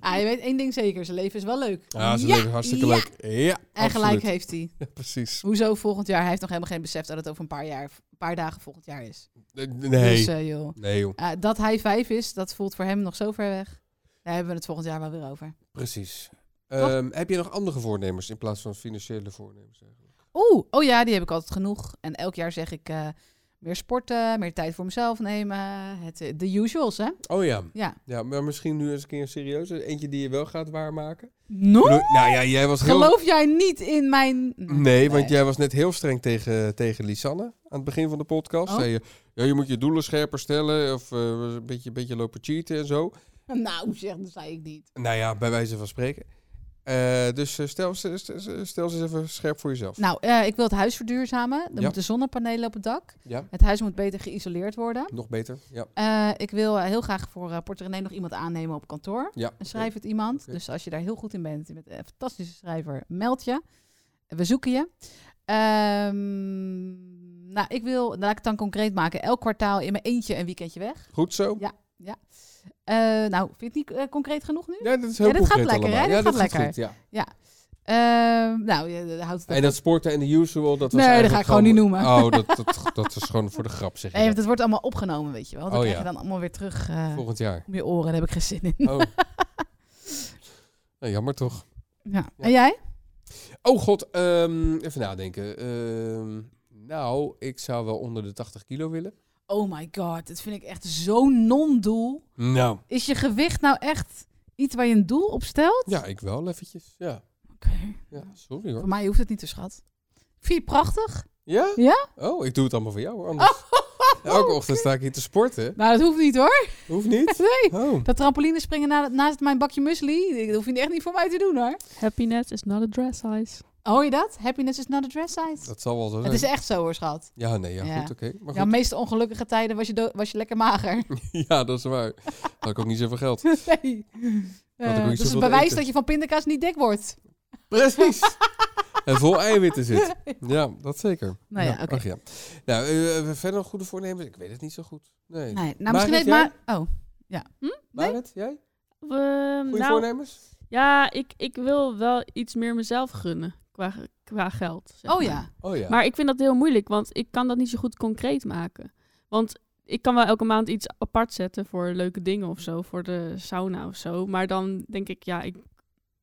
Speaker 6: Ah, je weet één ding zeker, zijn leven is wel leuk.
Speaker 5: Ja, Ah, ze leuk, hartstikke
Speaker 6: ja.
Speaker 5: leuk. Ja,
Speaker 6: En gelijk
Speaker 5: absoluut.
Speaker 6: heeft hij.
Speaker 5: Ja,
Speaker 6: [laughs]
Speaker 5: precies.
Speaker 6: Hoezo volgend jaar? Hij heeft nog helemaal geen besef dat het over een paar, jaar, een paar dagen volgend jaar is.
Speaker 5: Nee.
Speaker 6: Dus eh, joh.
Speaker 5: Nee, joh.
Speaker 6: Eh, dat hij vijf is, dat voelt voor hem nog zo ver weg. Daar hebben we het volgend jaar wel weer over.
Speaker 5: Precies. Ehm, heb je nog andere voornemens in plaats van financiële voornemens? eigenlijk?
Speaker 6: Oeh, oh ja, die heb ik altijd genoeg. En elk jaar zeg ik eh, meer sporten, meer tijd voor mezelf nemen. Het, eh, de usuals, hè?
Speaker 5: Oh ja.
Speaker 6: Ja.
Speaker 5: Ja, maar misschien nu eens een keer een serieuze. Eentje die je wel gaat waarmaken.
Speaker 6: No?
Speaker 5: Ik bedoel, Nou ja, jij was heel...
Speaker 6: Geloof jij niet in mijn...
Speaker 5: Nee, want jij was net heel streng tegen, tegen Lisanne aan het begin van de podcast.
Speaker 6: Oh.
Speaker 5: Zei je, ja, je moet je doelen scherper stellen of eh, een, beetje, een beetje lopen cheaten en zo.
Speaker 6: Nou, zeg, dat zei ik niet.
Speaker 5: Nou ja, bij wijze van spreken. Eh, Eh, dus eh, stel, ze- stel, ze- stel ze eens even scherp voor jezelf.
Speaker 6: Nou, eh, ik wil het huis verduurzamen. Er
Speaker 5: Ja.
Speaker 6: moeten zonnepanelen op het dak.
Speaker 5: Ja,
Speaker 6: Het huis moet beter geïsoleerd worden.
Speaker 5: nog beter. Ja.
Speaker 6: Eh, ik wil eh, heel graag voor eh Port René nog iemand aannemen op kantoor.
Speaker 5: Ja.
Speaker 6: Een schrijvend iemand.
Speaker 5: Oké.
Speaker 6: Dus als je daar heel goed in bent, je bent een fantastische schrijver, meld je. We zoeken je. Ehm, nou, ik wil, laat ik het dan concreet maken, elk kwartaal in mijn eentje een weekendje weg.
Speaker 5: Goed zo.
Speaker 6: Ja. Eh, nou, vind je het niet eh, concreet genoeg nu?
Speaker 5: Ja, dat is heel
Speaker 6: Ja, dit gaat
Speaker 5: concreet
Speaker 6: lekker,
Speaker 5: allemaal.
Speaker 6: hè?
Speaker 5: Ja,
Speaker 6: Dit gaat lekker.
Speaker 5: goed, ja.
Speaker 6: Ehm, nou, je, je houdt het
Speaker 5: En dat sporten en de usual, dat was
Speaker 6: Nee, dat
Speaker 5: eigenlijk
Speaker 6: ga ik gewoon niet
Speaker 5: Oh, dat, dat, dat is gewoon voor de grap, zeg je
Speaker 6: Nee, want
Speaker 5: dat.
Speaker 6: het wordt allemaal opgenomen, weet je wel. Dat
Speaker 5: Oh,
Speaker 6: krijg
Speaker 5: ja.
Speaker 6: je dan allemaal weer terug eh
Speaker 5: Volgend
Speaker 6: [laughs]
Speaker 5: jaar.
Speaker 6: om je oren. Daar heb ik geen zin in.
Speaker 5: Oh. nou, jammer toch.
Speaker 6: Ja.
Speaker 5: Ja.
Speaker 6: En jij?
Speaker 5: Oh god, ehm, even nadenken. Ehm, nou, ik zou wel onder de 80 kilo willen.
Speaker 6: Oh my god, dat vind ik echt zo'n non-doel.
Speaker 5: Nou.
Speaker 6: Is je gewicht nou echt iets waar je een doel op stelt?
Speaker 5: Ja, ik wel eventjes. Ja,
Speaker 6: Oké.
Speaker 5: ja sorry hoor.
Speaker 6: Voor mij hoeft het niet te schat. Ik Vind je het prachtig?
Speaker 5: Ja?
Speaker 6: Ja?
Speaker 5: Oh, ik doe het allemaal voor
Speaker 6: [laughs]
Speaker 5: jou hoor. Anders. Elke ochtend sta ik hier te sporten.
Speaker 6: Nou, dat hoeft niet hoor.
Speaker 5: Hoeft niet.
Speaker 6: Nee.
Speaker 5: Oh.
Speaker 6: Dat trampoline springen na- naast mijn bakje muesli, dat hoef je echt niet voor mij te doen hoor.
Speaker 7: Happiness is not a dress size.
Speaker 6: Hoor je dat? Happiness is not a dress size.
Speaker 5: Dat zal wel zo
Speaker 6: Het
Speaker 5: zijn.
Speaker 6: is echt zo hoor, schat.
Speaker 5: Ja, nee, ja,
Speaker 6: Ja.
Speaker 5: goed, oké. Maar
Speaker 6: Jouw
Speaker 5: goed,
Speaker 6: meest ongelukkige tijden was je, do- was je lekker
Speaker 5: [laughs]
Speaker 6: mager.
Speaker 5: ja, dat is waar. Had ik ook niet zoveel
Speaker 6: [laughs]
Speaker 5: geld.
Speaker 6: nee. Eh,
Speaker 5: niet
Speaker 6: dat is
Speaker 5: zoveel te
Speaker 6: het bewijs
Speaker 5: eten.
Speaker 6: dat je van pindakaas niet dik wordt.
Speaker 5: Precies. en vol eiwitten
Speaker 6: [laughs]
Speaker 5: zit. Ja, dat zeker.
Speaker 6: Nou ja, oké.
Speaker 5: ach ja. Nou, eh, eh, verder nog goede voornemens? Ik weet het niet zo goed. Nee.
Speaker 6: Nee, nou,
Speaker 5: Marit,
Speaker 6: misschien weet
Speaker 5: jij?
Speaker 6: maar. Oh, nee.
Speaker 5: Marit, jij?
Speaker 6: Mm,
Speaker 7: Ehm,
Speaker 5: Goede
Speaker 7: nou,
Speaker 5: voornemens?
Speaker 7: ja, ik, ik wil wel iets meer mezelf gunnen qua, qua geld. zeg
Speaker 6: oh
Speaker 7: maar.
Speaker 6: ja.
Speaker 5: Oh ja.
Speaker 7: Maar ik vind dat heel moeilijk, want ik kan dat niet zo goed concreet maken. Want ik kan wel elke maand iets apart zetten voor leuke dingen of zo, voor de sauna of zo. Maar dan denk ik, ja, ik,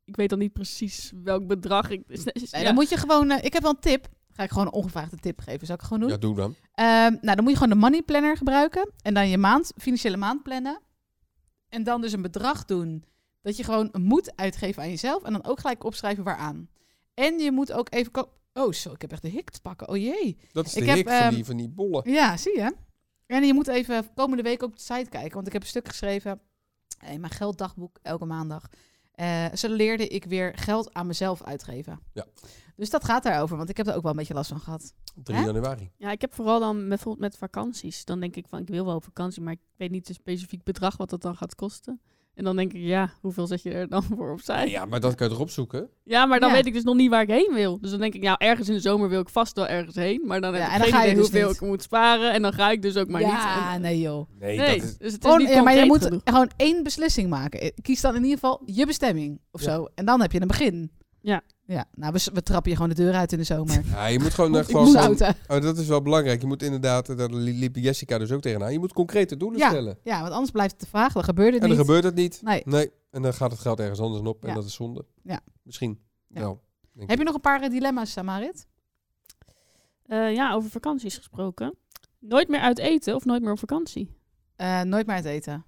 Speaker 7: ik weet dan niet precies welk bedrag ik.
Speaker 6: Nee,
Speaker 7: ja.
Speaker 6: Dan moet je gewoon. eh, ik heb wel een tip. Ga ik gewoon een ongevraagde tip geven. Zal ik het gewoon doen?
Speaker 5: ja, doe dan.
Speaker 6: Ehm, nou, dan moet je gewoon de money planner gebruiken. En dan je maand, financiële maand plannen. En dan dus een bedrag doen. Dat je gewoon moet uitgeven aan jezelf. En dan ook gelijk opschrijven waaraan. En je moet ook even... ko- Oh, zo, ik heb echt de hik te pakken. Oh jee.
Speaker 5: Dat is de
Speaker 6: Ik heb,
Speaker 5: hik van,
Speaker 6: ehm,
Speaker 5: die, van die bollen.
Speaker 6: Ja, zie je. En je moet even komende week op de site kijken. Want ik heb een stuk geschreven in mijn gelddagboek elke maandag. Eh, zo leerde ik weer geld aan mezelf uitgeven.
Speaker 5: Ja.
Speaker 6: Dus dat gaat daarover. Want ik heb er ook wel een beetje last van gehad.
Speaker 5: 3
Speaker 6: hè?
Speaker 5: januari.
Speaker 7: Ja, ik heb vooral dan met- bijvoorbeeld met vakanties. Dan denk ik van, ik wil wel op vakantie, maar ik weet niet een specifiek bedrag wat dat dan gaat kosten. En dan denk ik, ja, hoeveel zet je er dan voor
Speaker 6: Eh,
Speaker 7: opzij?
Speaker 5: Ja, maar dat kan je toch opzoeken?
Speaker 7: Ja, maar dan
Speaker 6: Ja.
Speaker 7: weet ik dus nog niet waar ik heen wil. Dus dan denk ik, nou, ergens in de zomer wil ik vast wel ergens heen. Maar dan
Speaker 6: Ja,
Speaker 7: heb
Speaker 6: en
Speaker 7: ik
Speaker 6: dan
Speaker 7: geen
Speaker 6: ga je
Speaker 7: idee
Speaker 6: dus
Speaker 7: hoeveel
Speaker 6: niet.
Speaker 7: ik moet sparen. En dan ga ik dus ook maar niet.
Speaker 6: ja,
Speaker 7: En-
Speaker 6: nee joh.
Speaker 5: Nee,
Speaker 7: nee,
Speaker 5: dat is...
Speaker 7: dus het is
Speaker 6: Oh,
Speaker 7: niet
Speaker 6: ja, maar je moet
Speaker 7: genoeg.
Speaker 6: gewoon één beslissing maken. Eh, Kies dan in ieder geval je bestemming of
Speaker 5: Ja.
Speaker 6: zo. En dan heb je een begin.
Speaker 7: Ja.
Speaker 6: Ja, nou, we, s- we trappen je gewoon de deur uit in de
Speaker 5: [laughs]
Speaker 6: zomer.
Speaker 5: Ja, je moet
Speaker 6: [laughs]
Speaker 5: gewoon... eh,
Speaker 6: ik
Speaker 5: gewoon
Speaker 6: moest
Speaker 5: gewoon-
Speaker 6: auto.
Speaker 5: Oh, dat is wel belangrijk. Je moet inderdaad, eh, daar li- liep Jessica dus ook tegenaan. Je moet concrete doelen
Speaker 6: Ja,
Speaker 5: stellen.
Speaker 6: ja, want anders blijft het te vaag. Dan gebeurt het
Speaker 5: En dan
Speaker 6: niet.
Speaker 5: gebeurt het niet.
Speaker 6: Nee.
Speaker 5: Nee. En dan gaat het geld ergens anders op. En
Speaker 6: Ja.
Speaker 5: dat is zonde.
Speaker 6: Ja.
Speaker 5: Misschien
Speaker 6: Ja.
Speaker 5: wel. denk
Speaker 6: Heb
Speaker 5: ik.
Speaker 6: je nog een paar eh, dilemma's, Samarit?
Speaker 7: Eh, ja, over vakanties gesproken. Nooit meer uit eten of nooit meer op vakantie.
Speaker 6: Eh, nooit meer uit eten.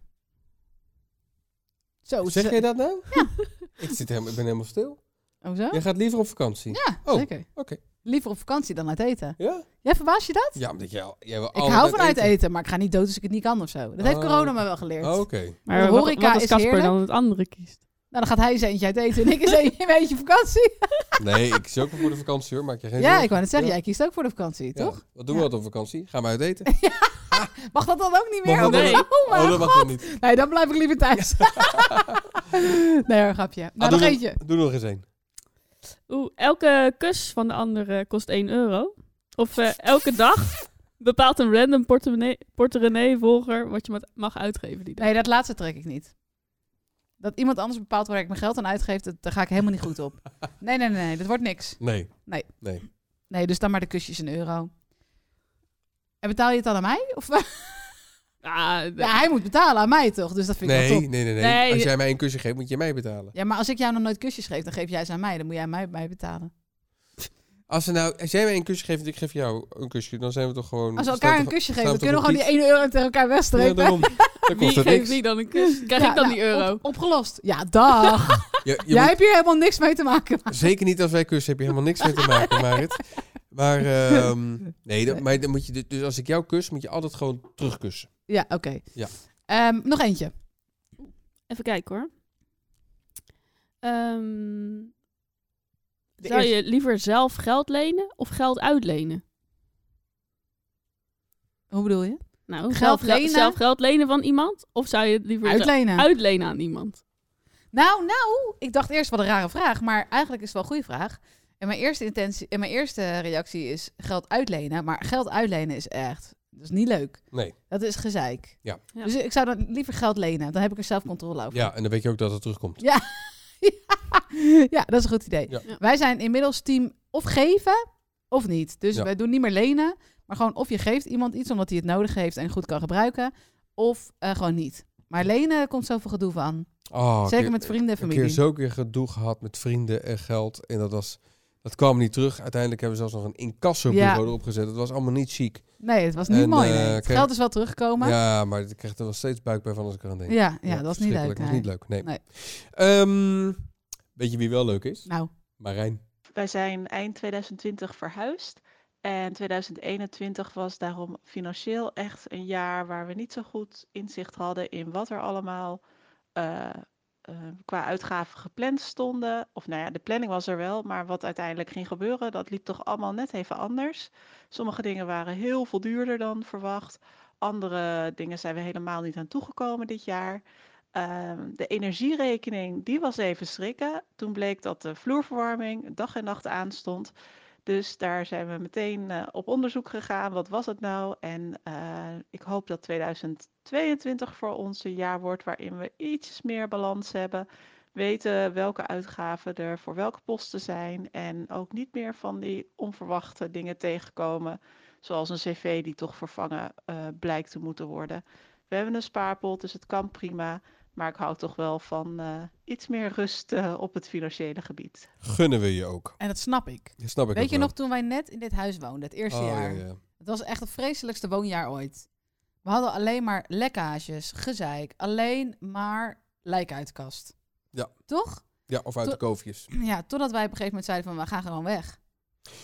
Speaker 6: Zo,
Speaker 5: Zeg
Speaker 6: Oh, ze-
Speaker 5: jij dat nou? [laughs] ik, zit helemaal, ik ben helemaal stil.
Speaker 6: Oh, zo?
Speaker 5: Jij gaat liever op vakantie?
Speaker 6: Ja,
Speaker 5: Oh,
Speaker 6: zeker.
Speaker 5: oké.
Speaker 6: Liever op vakantie dan uit eten.
Speaker 5: Ja?
Speaker 6: Jij verbaas je dat?
Speaker 5: Ja, omdat jij, al- jij wil
Speaker 6: ik
Speaker 5: altijd
Speaker 6: hou van uit eten. maar ik ga niet dood als ik het niet kan of zo. Dat heeft
Speaker 5: Oh.
Speaker 6: corona me wel geleerd.
Speaker 5: Oh, Oké.
Speaker 7: Maar
Speaker 6: Want
Speaker 7: wat-
Speaker 6: horeca
Speaker 7: wat als
Speaker 6: is
Speaker 7: Casper dan
Speaker 6: heerlijk.
Speaker 7: het andere kiest?
Speaker 6: Nou, dan gaat hij eens eentje uit eten en ik
Speaker 5: [laughs]
Speaker 6: eens eentje een eentje op vakantie.
Speaker 5: Nee, ik zie ook wel voor de vakantie hoor. Maak je geen
Speaker 6: Ja,
Speaker 5: zorgen.
Speaker 6: ik wou net zeggen,
Speaker 5: Ja.
Speaker 6: jij kiest ook voor de vakantie,
Speaker 5: Ja.
Speaker 6: toch?
Speaker 5: Wat doen
Speaker 6: Ja.
Speaker 5: we altijd op vakantie? Gaan we uit eten?
Speaker 6: Mag dat dan ook niet meer?
Speaker 5: Mag dat
Speaker 6: Oh,
Speaker 5: dan-
Speaker 6: oh, mijn
Speaker 5: oh, dat mag
Speaker 6: god.
Speaker 5: dan niet.
Speaker 6: Nee, dan blijf ik liever thuis. [laughs] nee, hoor, grapje. Nou,
Speaker 5: Ah,
Speaker 6: nog
Speaker 5: doe
Speaker 6: eentje.
Speaker 5: Doe nog eens één.
Speaker 7: Oeh, elke kus van de andere kost 1 euro. Of eh, elke dag bepaalt een random portemonnee- portemonnee-volger wat je ma- mag uitgeven die dag.
Speaker 6: Nee, dat laatste trek ik niet. Dat iemand anders bepaalt waar ik mijn geld aan uitgeef, dat, daar ga ik helemaal niet goed op. Nee, nee, nee, nee, dat wordt niks.
Speaker 5: Nee.
Speaker 6: Nee, dus dan maar de kusjes een euro. En betaal je het dan aan mij? Of, [laughs]
Speaker 7: Ah, d-
Speaker 6: ja, hij moet betalen aan mij toch? Dus dat vind ik
Speaker 5: Nee,
Speaker 6: wel
Speaker 5: nee,
Speaker 6: top.
Speaker 5: nee, nee,
Speaker 7: Nee,
Speaker 5: Als
Speaker 7: je-
Speaker 5: jij mij een kusje geeft, moet je mij betalen.
Speaker 6: Ja, maar als ik jou nog nooit kusjes geef, dan geef jij ze aan mij. Dan moet jij mij, mij betalen.
Speaker 5: Als, ze nou, als jij mij een kusje geeft en ik geef jou een kusje, dan zijn we toch
Speaker 6: Als
Speaker 5: gewoon...
Speaker 6: we
Speaker 5: staan
Speaker 6: elkaar een
Speaker 5: toch-
Speaker 6: kusje
Speaker 5: staan
Speaker 6: geven, dan
Speaker 5: we
Speaker 6: kunnen we
Speaker 5: toch
Speaker 6: gewoon die 1 euro tegen elkaar
Speaker 5: Ja,
Speaker 6: wegstrepen.
Speaker 5: daarom. Dan
Speaker 7: wie
Speaker 5: kost dat
Speaker 7: geeft
Speaker 5: niks.
Speaker 7: wie dan een kus? Krijg
Speaker 6: Ja,
Speaker 7: ik dan
Speaker 6: nou,
Speaker 7: die euro?
Speaker 6: op- [laughs] opgelost. Ja,
Speaker 5: [laughs]
Speaker 6: dag.
Speaker 5: Je- je
Speaker 6: Jij hebt hier helemaal niks mee te maken.
Speaker 5: moet- zeker niet als wij kussen, heb je helemaal niks mee te maken, Marit. Maar, ehm, nee, dat, maar dan moet je, dus- dus als ik jou kus, moet je altijd gewoon terugkussen.
Speaker 6: Ja, oké.
Speaker 5: Ja.
Speaker 6: Ehm, nog eentje.
Speaker 7: Even kijken hoor. Ehm,
Speaker 6: De
Speaker 7: zou je
Speaker 6: eerste-
Speaker 7: liever zelf geld lenen of geld uitlenen?
Speaker 6: Hoe bedoel je?
Speaker 7: Nou,
Speaker 6: Geld
Speaker 7: zelf, gel-
Speaker 6: lenen?
Speaker 7: zelf geld lenen van iemand? Of zou je het liever zelf
Speaker 6: Uitlenen.
Speaker 7: uitlenen aan iemand?
Speaker 6: Nou, nou, ik dacht eerst wat een rare vraag, maar eigenlijk is het wel een goede vraag. En mijn eerste intentie en mijn eerste reactie is geld uitlenen, maar geld uitlenen is echt, dat is niet leuk.
Speaker 5: Nee.
Speaker 6: Dat is gezeik.
Speaker 5: Ja.
Speaker 7: Ja.
Speaker 6: Dus ik zou dan liever geld lenen, dan heb ik er zelf controle over.
Speaker 5: Ja, en dan weet je ook dat het terugkomt.
Speaker 6: [laughs] Ja, dat is een goed idee.
Speaker 5: Ja.
Speaker 7: Ja.
Speaker 6: Wij zijn inmiddels team of geven of niet. Dus
Speaker 5: Ja.
Speaker 6: wij doen niet meer lenen, maar gewoon of je geeft iemand iets omdat hij het nodig heeft en goed kan gebruiken, of eh, gewoon niet. Maar lenen komt zoveel gedoe van.
Speaker 5: Oh,
Speaker 6: Zeker
Speaker 5: ik-
Speaker 6: met vrienden en
Speaker 5: Ik heb
Speaker 6: familie.
Speaker 5: keer zo keer gedoe gehad met vrienden en geld. En dat, was, dat kwam niet terug. Uiteindelijk hebben we zelfs nog een incassobureau
Speaker 6: Ja.
Speaker 5: erop gezet. Dat was allemaal niet chic.
Speaker 6: Nee, het was niet
Speaker 5: En,
Speaker 6: mooi.
Speaker 5: eh,
Speaker 6: nee. Het
Speaker 5: kijk-
Speaker 6: geld is wel teruggekomen. Ja,
Speaker 5: Ja, maar ik kreeg er wel steeds buik bij van als ik eraan denk.
Speaker 6: ja, dat was niet leuk.
Speaker 5: verschrikkelijk.
Speaker 6: nee.
Speaker 5: Dat was niet leuk, nee.
Speaker 6: Nee.
Speaker 5: Ehm, weet je wie wel leuk is?
Speaker 6: Nou,
Speaker 5: Marijn.
Speaker 10: Wij zijn eind 2020 verhuisd. En 2021 was daarom financieel echt een jaar waar we niet zo goed inzicht hadden in wat er allemaal eh, eh, qua uitgaven gepland stonden. Of nou ja, de planning was er wel, maar wat uiteindelijk ging gebeuren, dat liep toch allemaal net even anders. Sommige dingen waren heel veel duurder dan verwacht. Andere dingen zijn we helemaal niet aan toegekomen dit jaar. Ehm, de energierekening, die was even schrikken. Toen bleek dat de vloerverwarming dag en nacht aanstond. Dus daar zijn we meteen eh, op onderzoek gegaan. Wat was het nou? En eh, ik hoop dat 2022 voor ons een jaar wordt waarin we iets meer balans hebben. Weten welke uitgaven er voor welke posten zijn. En ook niet meer van die onverwachte dingen tegenkomen. Zoals een cv die toch vervangen eh, blijkt te moeten worden. We hebben een spaarpot, dus het kan prima. Maar ik hou toch wel van eh, iets meer rust eh, op het financiële gebied.
Speaker 5: Gunnen we je ook.
Speaker 6: en dat snap ik.
Speaker 5: Dat snap ik ook
Speaker 6: Weet je
Speaker 5: wel.
Speaker 6: nog toen wij net in dit huis woonden, het eerste
Speaker 5: Oh, ja,
Speaker 6: jaar?
Speaker 5: ja.
Speaker 6: Het was echt het vreselijkste woonjaar ooit. We hadden alleen maar lekkages, gezeik, alleen maar lijk uit de kast.
Speaker 5: Ja.
Speaker 6: Toch?
Speaker 5: Ja, of uit de
Speaker 6: Tot-
Speaker 5: koofjes.
Speaker 6: Ja, totdat wij op een gegeven moment zeiden van, we gaan gewoon weg.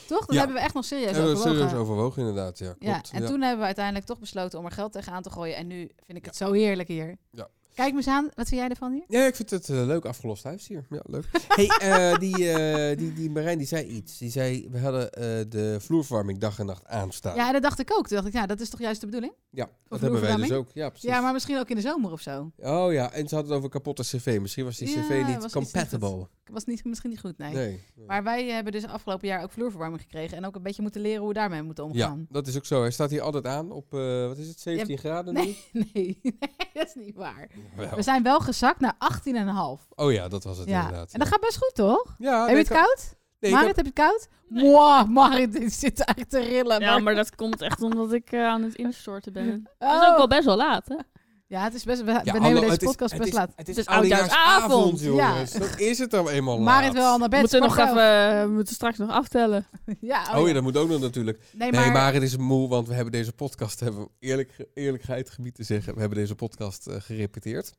Speaker 6: Toch? Dat
Speaker 5: Ja.
Speaker 6: hebben we echt nog serieus
Speaker 5: Hebben we
Speaker 6: overwogen.
Speaker 5: serieus overwogen inderdaad, ja.
Speaker 6: Ja,
Speaker 5: Klopt.
Speaker 6: en toen hebben we uiteindelijk toch besloten om er geld tegenaan te gooien. En nu vind ik het zo heerlijk hier.
Speaker 5: Ja.
Speaker 6: Kijk me eens aan, wat vind jij ervan hier?
Speaker 5: Ja, ik vind het eh, leuk afgelost huis hier. Ja, leuk. [laughs] hey, eh, die, eh, die, die Marijn die zei iets. Die zei, we hadden eh, de vloerverwarming dag en nacht aanstaan.
Speaker 6: Ja, dat dacht ik ook. Toen dacht ik, ja, dat is toch juist de bedoeling?
Speaker 5: Ja, dat hebben wij dus
Speaker 6: vloerverwarming?
Speaker 5: ook. Ja, precies.
Speaker 6: Ja, maar misschien ook in de zomer of zo.
Speaker 5: Oh ja, en ze hadden het over kapotte cv. Misschien was die
Speaker 6: Ja,
Speaker 5: cv niet
Speaker 6: was iets
Speaker 5: compatible.
Speaker 6: Was niet, [laughs] misschien niet goed, nee.
Speaker 5: Nee.
Speaker 6: Maar wij hebben dus afgelopen jaar ook vloerverwarming gekregen. En ook een beetje moeten leren hoe we daarmee moeten
Speaker 5: Ja,
Speaker 6: omgaan.
Speaker 5: dat is ook zo. Hij staat hier altijd aan op, eh, wat is het, 17 graden nu?
Speaker 6: Nee, nee, dat is niet waar.
Speaker 5: Wel.
Speaker 6: [laughs] We zijn wel gezakt naar 18,5.
Speaker 5: Oh ja, Nou. dat was het
Speaker 6: Ja,
Speaker 5: inderdaad.
Speaker 6: en dat
Speaker 5: ja.
Speaker 6: gaat best goed,
Speaker 7: Nou,
Speaker 6: toch?
Speaker 5: Ja,
Speaker 6: heb je
Speaker 5: nee,
Speaker 6: het
Speaker 5: ik-
Speaker 6: koud?
Speaker 5: nee, ik
Speaker 6: Marit,
Speaker 5: heb-
Speaker 6: heb je het koud? Wow, Marit die zit echt te rillen.
Speaker 7: Ja, maar dat komt echt omdat ik eh, aan het instorten ben.
Speaker 6: Oh.
Speaker 7: Het is ook wel best wel laat, hè?
Speaker 6: Ja, het is best, we, we
Speaker 5: Ja,
Speaker 6: nemen
Speaker 5: hallo,
Speaker 6: deze
Speaker 5: het is-
Speaker 6: podcast
Speaker 5: het
Speaker 6: best
Speaker 5: is-
Speaker 6: laat.
Speaker 5: Het is,
Speaker 7: Het is
Speaker 5: oudjaarsavond,
Speaker 7: oudjaarsavond,
Speaker 6: ja.
Speaker 5: jongens. Dat is het dan eenmaal
Speaker 6: Marit
Speaker 5: laat.
Speaker 6: wil al naar
Speaker 7: We
Speaker 6: bed.
Speaker 7: moeten nog
Speaker 6: kwart
Speaker 7: even, eh,
Speaker 6: elf.
Speaker 7: we moeten straks nog aftellen.
Speaker 6: Ja,
Speaker 5: Oh ja, dat moet ook nog natuurlijk.
Speaker 6: Nee,
Speaker 5: Nee,
Speaker 6: maar...
Speaker 5: Marit is moe, want we hebben deze podcast, hebben we eerlijk, eerlijkheid gebied te zeggen, we hebben deze podcast eh, gerepeteerd.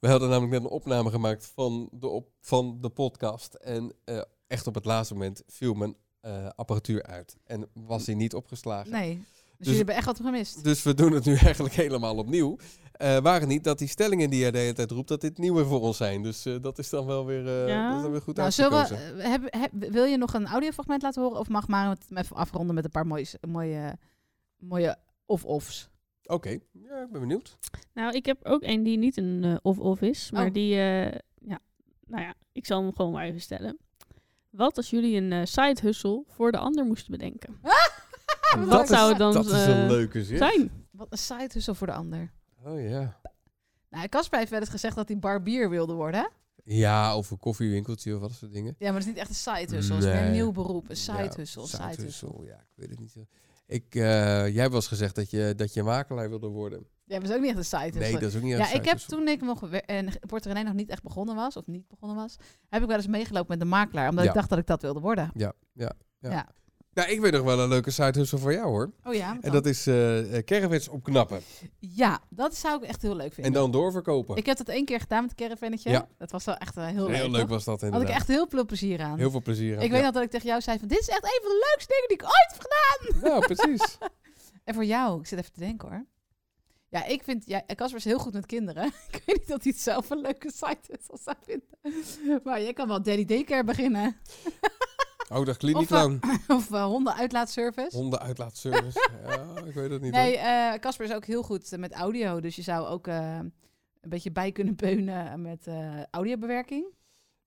Speaker 5: We hadden namelijk net een opname gemaakt van de, op, van de podcast. En eh, echt op het laatste moment viel mijn eh, apparatuur uit. En was die niet opgeslagen.
Speaker 6: Nee, dus,
Speaker 5: Dus-
Speaker 6: jullie hebben echt wat gemist.
Speaker 5: Dus we doen het nu [laughs] eigenlijk helemaal opnieuw. Eh waren niet dat die stellingen die jij de hele tijd roept, dat dit nieuwe voor ons zijn. Dus eh, dat is dan wel weer, eh,
Speaker 7: Ja.
Speaker 5: dat is dan weer goed
Speaker 6: Nou, zullen we,
Speaker 5: uitgekozen.
Speaker 6: eh, heb, heb- wil je nog een audiofragment laten horen? Of mag Marit het even afronden met een paar mooie, mooie, mooie of-offs?
Speaker 5: Oké, ja, ik ben benieuwd.
Speaker 7: Nou, ik heb ook één die niet een eh, of-of is, maar
Speaker 6: Oh.
Speaker 7: die, eh, ja, nou ja, ik zal hem gewoon maar even stellen. Wat als jullie een eh side hustle voor de ander moesten bedenken?
Speaker 5: Dat
Speaker 7: Wat
Speaker 5: is-
Speaker 7: zou het dan
Speaker 5: dat is een
Speaker 7: eh,
Speaker 5: leuke zin.
Speaker 7: zijn?
Speaker 6: Wat een side hustle voor de ander.
Speaker 5: Oh ja.
Speaker 6: Nou, Casper heeft wel eens gezegd dat hij barbier wilde worden. hè?
Speaker 5: Ja, of een koffiewinkeltje of wat voor dingen.
Speaker 6: Ja, maar dat is niet echt een side hustle. Het is meer
Speaker 5: Nee.
Speaker 6: een nieuw beroep. Een side
Speaker 5: Ja,
Speaker 6: hustle.
Speaker 5: side
Speaker 6: Side hustle.
Speaker 5: hustle, Ja, ik weet het niet. zo. Ik, eh, jij hebt wel eens gezegd dat je, dat je makelaar wilde worden.
Speaker 6: Ja, maar dat is ook niet echt een side hustle.
Speaker 5: Nee, dat is ook niet echt
Speaker 6: Ja,
Speaker 5: side
Speaker 6: ik heb
Speaker 5: hustle.
Speaker 6: toen ik nog wer- en Porto René nog niet echt begonnen was, of niet begonnen was, heb ik wel eens meegelopen met de makelaar, omdat
Speaker 5: Ja.
Speaker 6: ik dacht dat ik dat wilde worden.
Speaker 5: Nou, ik weet nog wel een leuke side hustle voor jou hoor.
Speaker 6: Oh ja. wat
Speaker 5: En
Speaker 6: dan?
Speaker 5: dat is eh eh, caravans opknappen.
Speaker 6: Ja, dat zou ik echt heel leuk
Speaker 5: En
Speaker 6: vinden.
Speaker 5: dan doorverkopen.
Speaker 6: Ik heb dat één keer gedaan met een caravannetje.
Speaker 5: Ja.
Speaker 6: Dat was wel echt eh, heel,
Speaker 5: Heel
Speaker 6: leuk.
Speaker 5: leuk
Speaker 6: toch?
Speaker 5: was dat
Speaker 6: Had ik
Speaker 5: inderdaad.
Speaker 6: echt heel veel plezier aan.
Speaker 5: Heel veel plezier aan.
Speaker 6: ik weet
Speaker 5: ja.
Speaker 6: nog dat ik tegen jou zei van dit is echt een van de leukste dingen die ik ooit heb gedaan. [laughs]
Speaker 5: Nou, precies.
Speaker 6: En voor jou, ik zit even te denken hoor. Ja, ik vind... Ja, Casper is heel goed met kinderen. [laughs] ik weet niet of hij het zelf een leuke site is als hij vindt. Maar jij kan wel Daddy Daycare beginnen. [laughs]
Speaker 5: Oh, dat kliniek lang.
Speaker 6: of eh, hondenuitlaatservice. [laughs]
Speaker 5: Hondenuitlaatservice. ja, ik weet het niet.
Speaker 6: Nee,
Speaker 5: hoor.
Speaker 6: eh, Casper is ook heel goed eh, met audio. Dus je zou ook eh, een beetje bij kunnen beunen met eh, audiobewerking.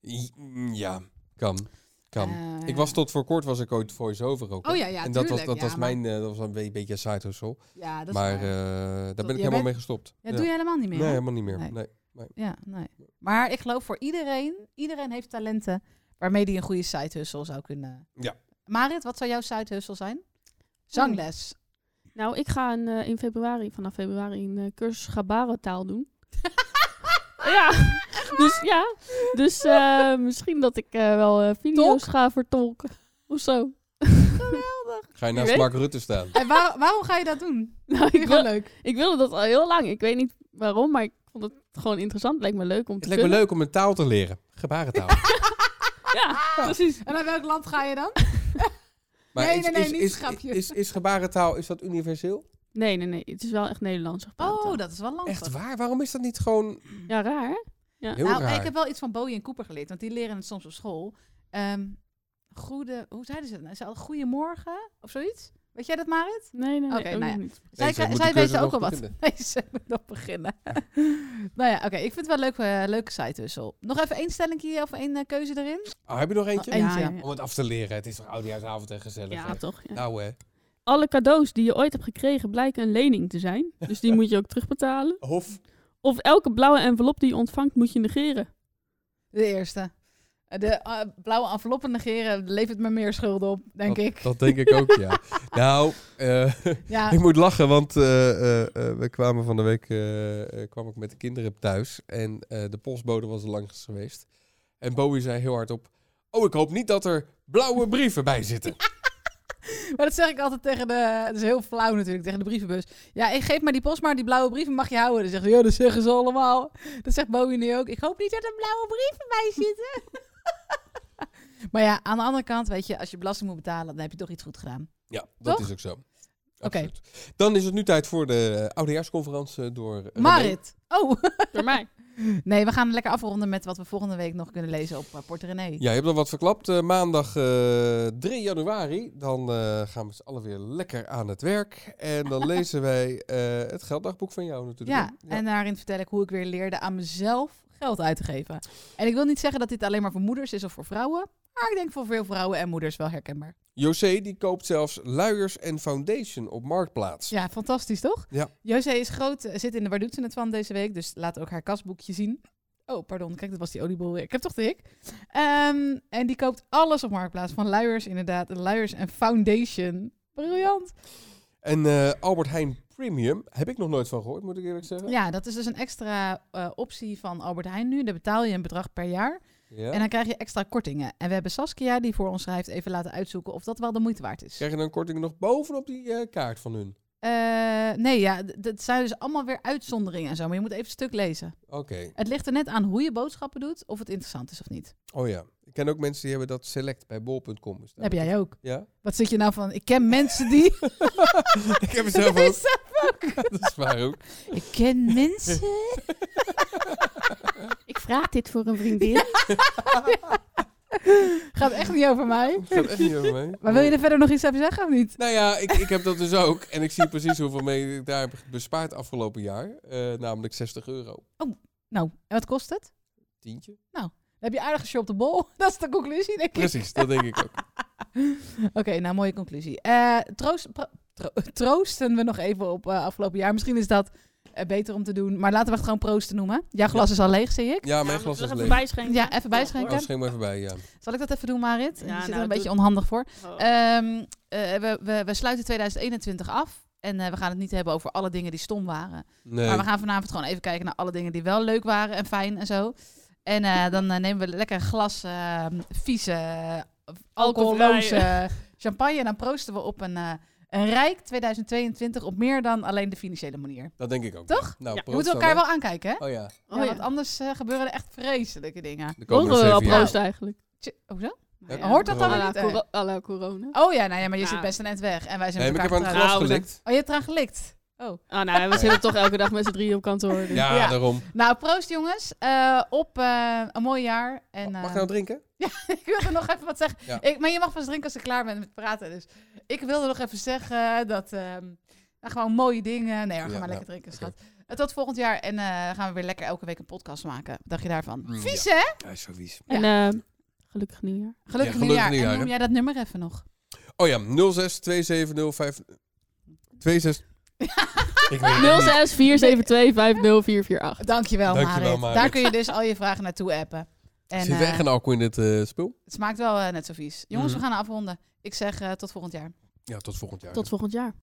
Speaker 5: I- mm, Ja, kan. Kan.
Speaker 6: Eh,
Speaker 5: ik was tot voor kort was ik ooit voice-over ook.
Speaker 6: Oh
Speaker 5: hè.
Speaker 6: ja, ja,
Speaker 5: En dat was,
Speaker 6: tuurlijk,
Speaker 5: dat
Speaker 6: ja,
Speaker 5: was
Speaker 6: maar-
Speaker 5: mijn, eh, dat was een be- beetje een side hustle.
Speaker 6: Ja, dat
Speaker 5: maar
Speaker 6: is waar.
Speaker 5: eh, daar
Speaker 6: jij
Speaker 5: ben ik helemaal
Speaker 6: bent-
Speaker 5: mee gestopt.
Speaker 6: ja, doe je helemaal niet meer.
Speaker 5: Nee,
Speaker 6: hè?
Speaker 5: helemaal niet meer.
Speaker 6: Nee.
Speaker 5: Nee.
Speaker 6: Ja, nee. Maar ik geloof voor iedereen, iedereen heeft talenten waarmee die een goede side hustle zou kunnen.
Speaker 5: Ja.
Speaker 6: Marit, wat zou jouw side hustle zijn? Zangles.
Speaker 7: Nou, ik ga een, eh, in februari, vanaf februari, een eh, cursus
Speaker 6: [laughs]
Speaker 7: gebarentaal doen. ja, dus ja. Dus eh, misschien dat ik eh, wel eh, video's ga vertolken of zo. [laughs]
Speaker 6: Geweldig.
Speaker 5: Ga je naast
Speaker 7: weet-
Speaker 5: Mark
Speaker 6: [laughs]
Speaker 5: Rutte staan?
Speaker 6: En waar- waarom ga je dat doen? [laughs]
Speaker 7: Nou,
Speaker 6: Vind
Speaker 7: ik,
Speaker 6: je
Speaker 7: wil,
Speaker 6: gewoon leuk.
Speaker 7: ik wilde dat al heel lang. Ik weet niet waarom, maar ik vond het gewoon interessant. Het lijkt me leuk om
Speaker 5: Het
Speaker 7: te
Speaker 5: lijkt me
Speaker 7: kunnen.
Speaker 5: leuk om een taal te leren.
Speaker 6: [laughs]
Speaker 5: Gebarentaal.
Speaker 7: Ja,
Speaker 6: Ah.
Speaker 7: precies.
Speaker 6: En naar welk land ga je dan?
Speaker 5: Maar
Speaker 6: Nee,
Speaker 5: is,
Speaker 6: nee, nee,
Speaker 5: is,
Speaker 6: niet
Speaker 5: is,
Speaker 6: grapje.
Speaker 5: Is, is, gebarentaal, is dat universeel?
Speaker 7: Nee, nee, nee. Het is wel echt Nederlands. gebarentaal.
Speaker 6: Oh, dat is wel lastig.
Speaker 5: Echt waar? Waarom is dat niet gewoon
Speaker 7: Ja, raar hè?
Speaker 5: heel
Speaker 6: nou,
Speaker 5: raar?
Speaker 6: ik heb wel iets van Bowie en Cooper geleerd, want die leren het soms op school. Ehm, goede, hoe zeiden ze het nou? Ze hadden goedemorgen of zoiets? Weet jij dat, Marit?
Speaker 7: Nee, nee, nee.
Speaker 6: Oké,
Speaker 7: ook
Speaker 6: nou
Speaker 7: nog
Speaker 6: ja.
Speaker 7: niet.
Speaker 6: Zij,
Speaker 5: Nee, ze
Speaker 6: zij,
Speaker 5: moet die cursus
Speaker 6: weten ook al
Speaker 5: nog
Speaker 6: wat.
Speaker 5: beginnen.
Speaker 6: [laughs] Nee, ze moeten nog beginnen. [laughs] nou ja, oké. ik vind het wel een leuke, eh, leuke side hustle. Nog even één stelling hier of één eh, keuze erin?
Speaker 5: Ah, heb je nog eentje?
Speaker 6: Oh, eentje.
Speaker 7: Ja, ja, ja.
Speaker 5: Om het af te leren. Het is toch oudejaarsavond en gezellig.
Speaker 7: Ja,
Speaker 5: hè?
Speaker 7: toch. ja.
Speaker 5: Nou hè.
Speaker 7: Alle cadeaus die je ooit hebt gekregen blijken een lening te zijn. Dus die moet je ook terugbetalen.
Speaker 5: Of
Speaker 7: Of elke blauwe envelop die je ontvangt moet je negeren.
Speaker 6: De eerste. Eh, De eh, blauwe enveloppen negeren levert me meer schulden op, denk
Speaker 5: dat,
Speaker 6: ik.
Speaker 5: Dat denk ik ook,
Speaker 6: [laughs]
Speaker 5: ja. nou, eh, [laughs]
Speaker 6: Ja,
Speaker 5: ik moet lachen, want eh, eh, eh, we kwamen van de week eh, eh, kwam ik met de kinderen thuis. En eh, de postbode was er langs geweest. En Bowie zei heel hardop... Oh, ik hoop niet dat er blauwe brieven bij
Speaker 6: [laughs]
Speaker 5: zitten.
Speaker 6: maar dat zeg ik altijd tegen de... Het is heel flauw natuurlijk, tegen de brievenbus. Ja, ik geef maar die post maar, die blauwe brieven mag je houden. Dan zeggen ze, ja, dat zeggen ze allemaal. Dat zegt Bowie nu ook. Ik hoop niet dat er blauwe brieven bij zitten. [laughs] maar ja, aan de andere kant, weet je, als je belasting moet betalen, dan heb je toch iets goed gedaan.
Speaker 5: Ja, dat
Speaker 6: Toch?
Speaker 5: is ook zo. Absoluut. Dan is het nu tijd voor de eh, oudejaarsconferentie door... eh, René.
Speaker 6: Marit. Oh, [laughs]
Speaker 7: Door mij.
Speaker 6: nee, we gaan lekker afronden met wat we volgende week nog kunnen lezen op eh, Porte René.
Speaker 5: Ja, je hebt al wat verklapt. Eh, maandag eh, 3 januari. Dan eh, gaan we z'n allen weer lekker aan het werk. En
Speaker 6: [laughs]
Speaker 5: dan lezen wij eh, het gelddagboek van jou natuurlijk.
Speaker 6: Ja,
Speaker 5: hè?
Speaker 6: en daarin vertel ik hoe ik weer leerde aan mezelf geld uit te geven. En ik wil niet zeggen dat dit alleen maar voor moeders is of voor vrouwen. Maar ik denk voor veel vrouwen en moeders wel herkenbaar.
Speaker 5: José die koopt zelfs luiers en foundation op Marktplaats.
Speaker 6: Ja, fantastisch toch?
Speaker 5: Ja.
Speaker 6: José is groot, eh, zit in de Waar doet ze het van deze week. Dus laat ook haar kastboekje zien. Oh, pardon. Kijk, dat was die oliebol weer. Ik heb toch de hik. Ehm, en die koopt alles op Marktplaats. Van luiers inderdaad. Luiers en foundation. Briljant.
Speaker 5: En eh, Albert Heijn Premium heb ik nog nooit van gehoord, moet ik eerlijk zeggen.
Speaker 6: Ja, dat is dus een extra eh, optie van Albert Heijn nu. Daar betaal je een bedrag per jaar.
Speaker 5: Ja.
Speaker 6: En dan krijg je extra kortingen. En we hebben Saskia, die voor ons schrijft, even laten uitzoeken of dat wel de moeite waard is.
Speaker 5: Krijg je dan korting nog bovenop die eh, kaart van hun?
Speaker 6: Eh, nee, ja, d- dat zijn dus allemaal weer uitzonderingen en zo. Maar je moet even het stuk lezen.
Speaker 5: Oké.
Speaker 6: Het ligt er net aan hoe je boodschappen doet, of het interessant is of niet.
Speaker 5: Oh ja. Ik ken ook mensen die hebben dat select bij bol.com.
Speaker 6: Dat heb jij ook.
Speaker 5: Ja? [laughs]
Speaker 6: Wat zit je nou van? Ik ken mensen die...
Speaker 5: ik heb het
Speaker 6: Dat heb
Speaker 5: zelf
Speaker 6: je
Speaker 5: ook.
Speaker 6: zelf
Speaker 5: [laughs]
Speaker 6: ook.
Speaker 5: dat is waar ook.
Speaker 6: [laughs] Ik ken mensen...
Speaker 7: [laughs] Ik vraag dit voor een
Speaker 6: [laughs]
Speaker 7: vriendin.
Speaker 6: Gaat echt niet over mij.
Speaker 5: Dat gaat echt niet over mij.
Speaker 6: Maar wil je er verder nog iets over zeggen of niet?
Speaker 5: [laughs] Nou ja, ik, ik heb dat dus ook. En ik zie precies hoeveel mee ik daar heb bespaard afgelopen jaar. Eh, namelijk 60 euro.
Speaker 6: Nou, en wat kost het?
Speaker 5: Tientje.
Speaker 6: Dan heb je aardig geshopt de bol. [laughs] Dat is de conclusie, denk ik.
Speaker 5: Precies, dat denk ik ook.
Speaker 6: [laughs] Oké, nou, mooie conclusie. Eh, troost, pro- tro- [laughs] troosten we nog even op eh, afgelopen jaar. Misschien is dat eh, beter om te doen. Maar laten we het gewoon proosten noemen. Jouw glas is al leeg, zie ik.
Speaker 5: Ja, [laughs] mijn glas is leeg.
Speaker 7: Voorbij schenken.
Speaker 6: Ja, even
Speaker 5: Oh,
Speaker 6: bijschenken.
Speaker 5: schenk maar even bij, ja.
Speaker 6: Zal ik dat even doen, Marit?
Speaker 7: Ja,
Speaker 6: Je zit er
Speaker 7: nou,
Speaker 6: een
Speaker 7: doe-
Speaker 6: beetje onhandig voor.
Speaker 7: Oh.
Speaker 6: Ehm, eh, we, we, we sluiten 2021 af. En eh, we gaan het niet hebben over alle dingen die stom waren.
Speaker 5: Nee.
Speaker 6: Maar we gaan vanavond gewoon even kijken naar alle dingen die wel leuk waren en fijn en zo. En eh, dan eh, nemen we lekker een glas eh, vieze, eh, alcoholloze [laughs] champagne. En dan proosten we op een, eh, een rijk 2022 op meer dan alleen de financiële manier.
Speaker 5: Dat denk ik ook.
Speaker 6: Toch?
Speaker 5: Nou,
Speaker 7: Ja.
Speaker 5: proost
Speaker 6: We moeten
Speaker 5: dan,
Speaker 6: elkaar
Speaker 5: hè.
Speaker 6: wel aankijken, hè?
Speaker 5: Oh ja.
Speaker 6: Ja,
Speaker 7: Oh, ja.
Speaker 6: Want anders eh, gebeuren er echt vreselijke dingen.
Speaker 5: De komende
Speaker 7: Mogen we wel
Speaker 5: zeven jaar.
Speaker 7: proost eigenlijk?
Speaker 6: Tje, hoezo?
Speaker 5: Ja,
Speaker 7: Ja.
Speaker 6: Hoort dat dan
Speaker 7: à
Speaker 6: weer
Speaker 7: la
Speaker 6: niet?
Speaker 7: coro- à la corona?
Speaker 6: Oh ja, nou ja, maar je
Speaker 7: Nou.
Speaker 6: zit best net weg. En wij zijn
Speaker 5: Nee,
Speaker 6: met
Speaker 5: maar ik
Speaker 6: elkaar
Speaker 5: heb aan het
Speaker 6: getrouwd.
Speaker 5: glas gelikt.
Speaker 7: getrouwd.
Speaker 6: Oh, je hebt eraan gelikt? Oh.
Speaker 7: Ah, [laughs] nou, we zitten toch elke dag met z'n drieën op kantoor. dus-
Speaker 5: Ja,
Speaker 6: Ja.
Speaker 5: daarom.
Speaker 6: Nou, proost jongens. eh, op eh, een mooi jaar. En,
Speaker 5: Mag ik
Speaker 6: eh,
Speaker 5: nou drinken?
Speaker 6: [laughs] ik wilde nog even wat zeggen.
Speaker 5: Ja.
Speaker 6: Ik, maar je mag pas drinken als ik klaar ben met praten. Dus ik wilde nog even zeggen dat... ehm, nou, gewoon mooie dingen. Nee, hoor, ga
Speaker 5: Ja,
Speaker 6: maar
Speaker 5: ja,
Speaker 6: lekker drinken,
Speaker 5: oké.
Speaker 6: schat. Eh, Tot volgend jaar. En eh, gaan we weer lekker elke week een podcast maken. Wat dacht je daarvan?
Speaker 5: Mm,
Speaker 6: Vies,
Speaker 5: ja.
Speaker 6: hè?
Speaker 5: Hij is zo vies.
Speaker 7: En eh, gelukkig nieuwjaar.
Speaker 6: Gelukkig,
Speaker 5: Ja, gelukkig
Speaker 6: nieuwjaar.
Speaker 5: nieuwjaar,
Speaker 6: En noem
Speaker 5: hè?
Speaker 6: jij dat nummer even nog?
Speaker 5: Oh ja, 06 2705
Speaker 6: [laughs]
Speaker 5: 26. Ik weet het niet.
Speaker 7: 06 472 50448.
Speaker 6: Dankjewel,
Speaker 5: Dankjewel,
Speaker 6: Marit.
Speaker 5: Marit.
Speaker 6: Daar kun je dus al je vragen naartoe appen. En,
Speaker 5: Zit er
Speaker 6: eh,
Speaker 5: echt een alcohol in dit eh spul?
Speaker 6: het smaakt wel eh, net zo vies. Jongens,
Speaker 5: Mhm.
Speaker 6: we gaan afronden. Ik zeg eh, tot volgend jaar.
Speaker 5: Ja, tot volgend jaar.
Speaker 7: Tot volgend jaar.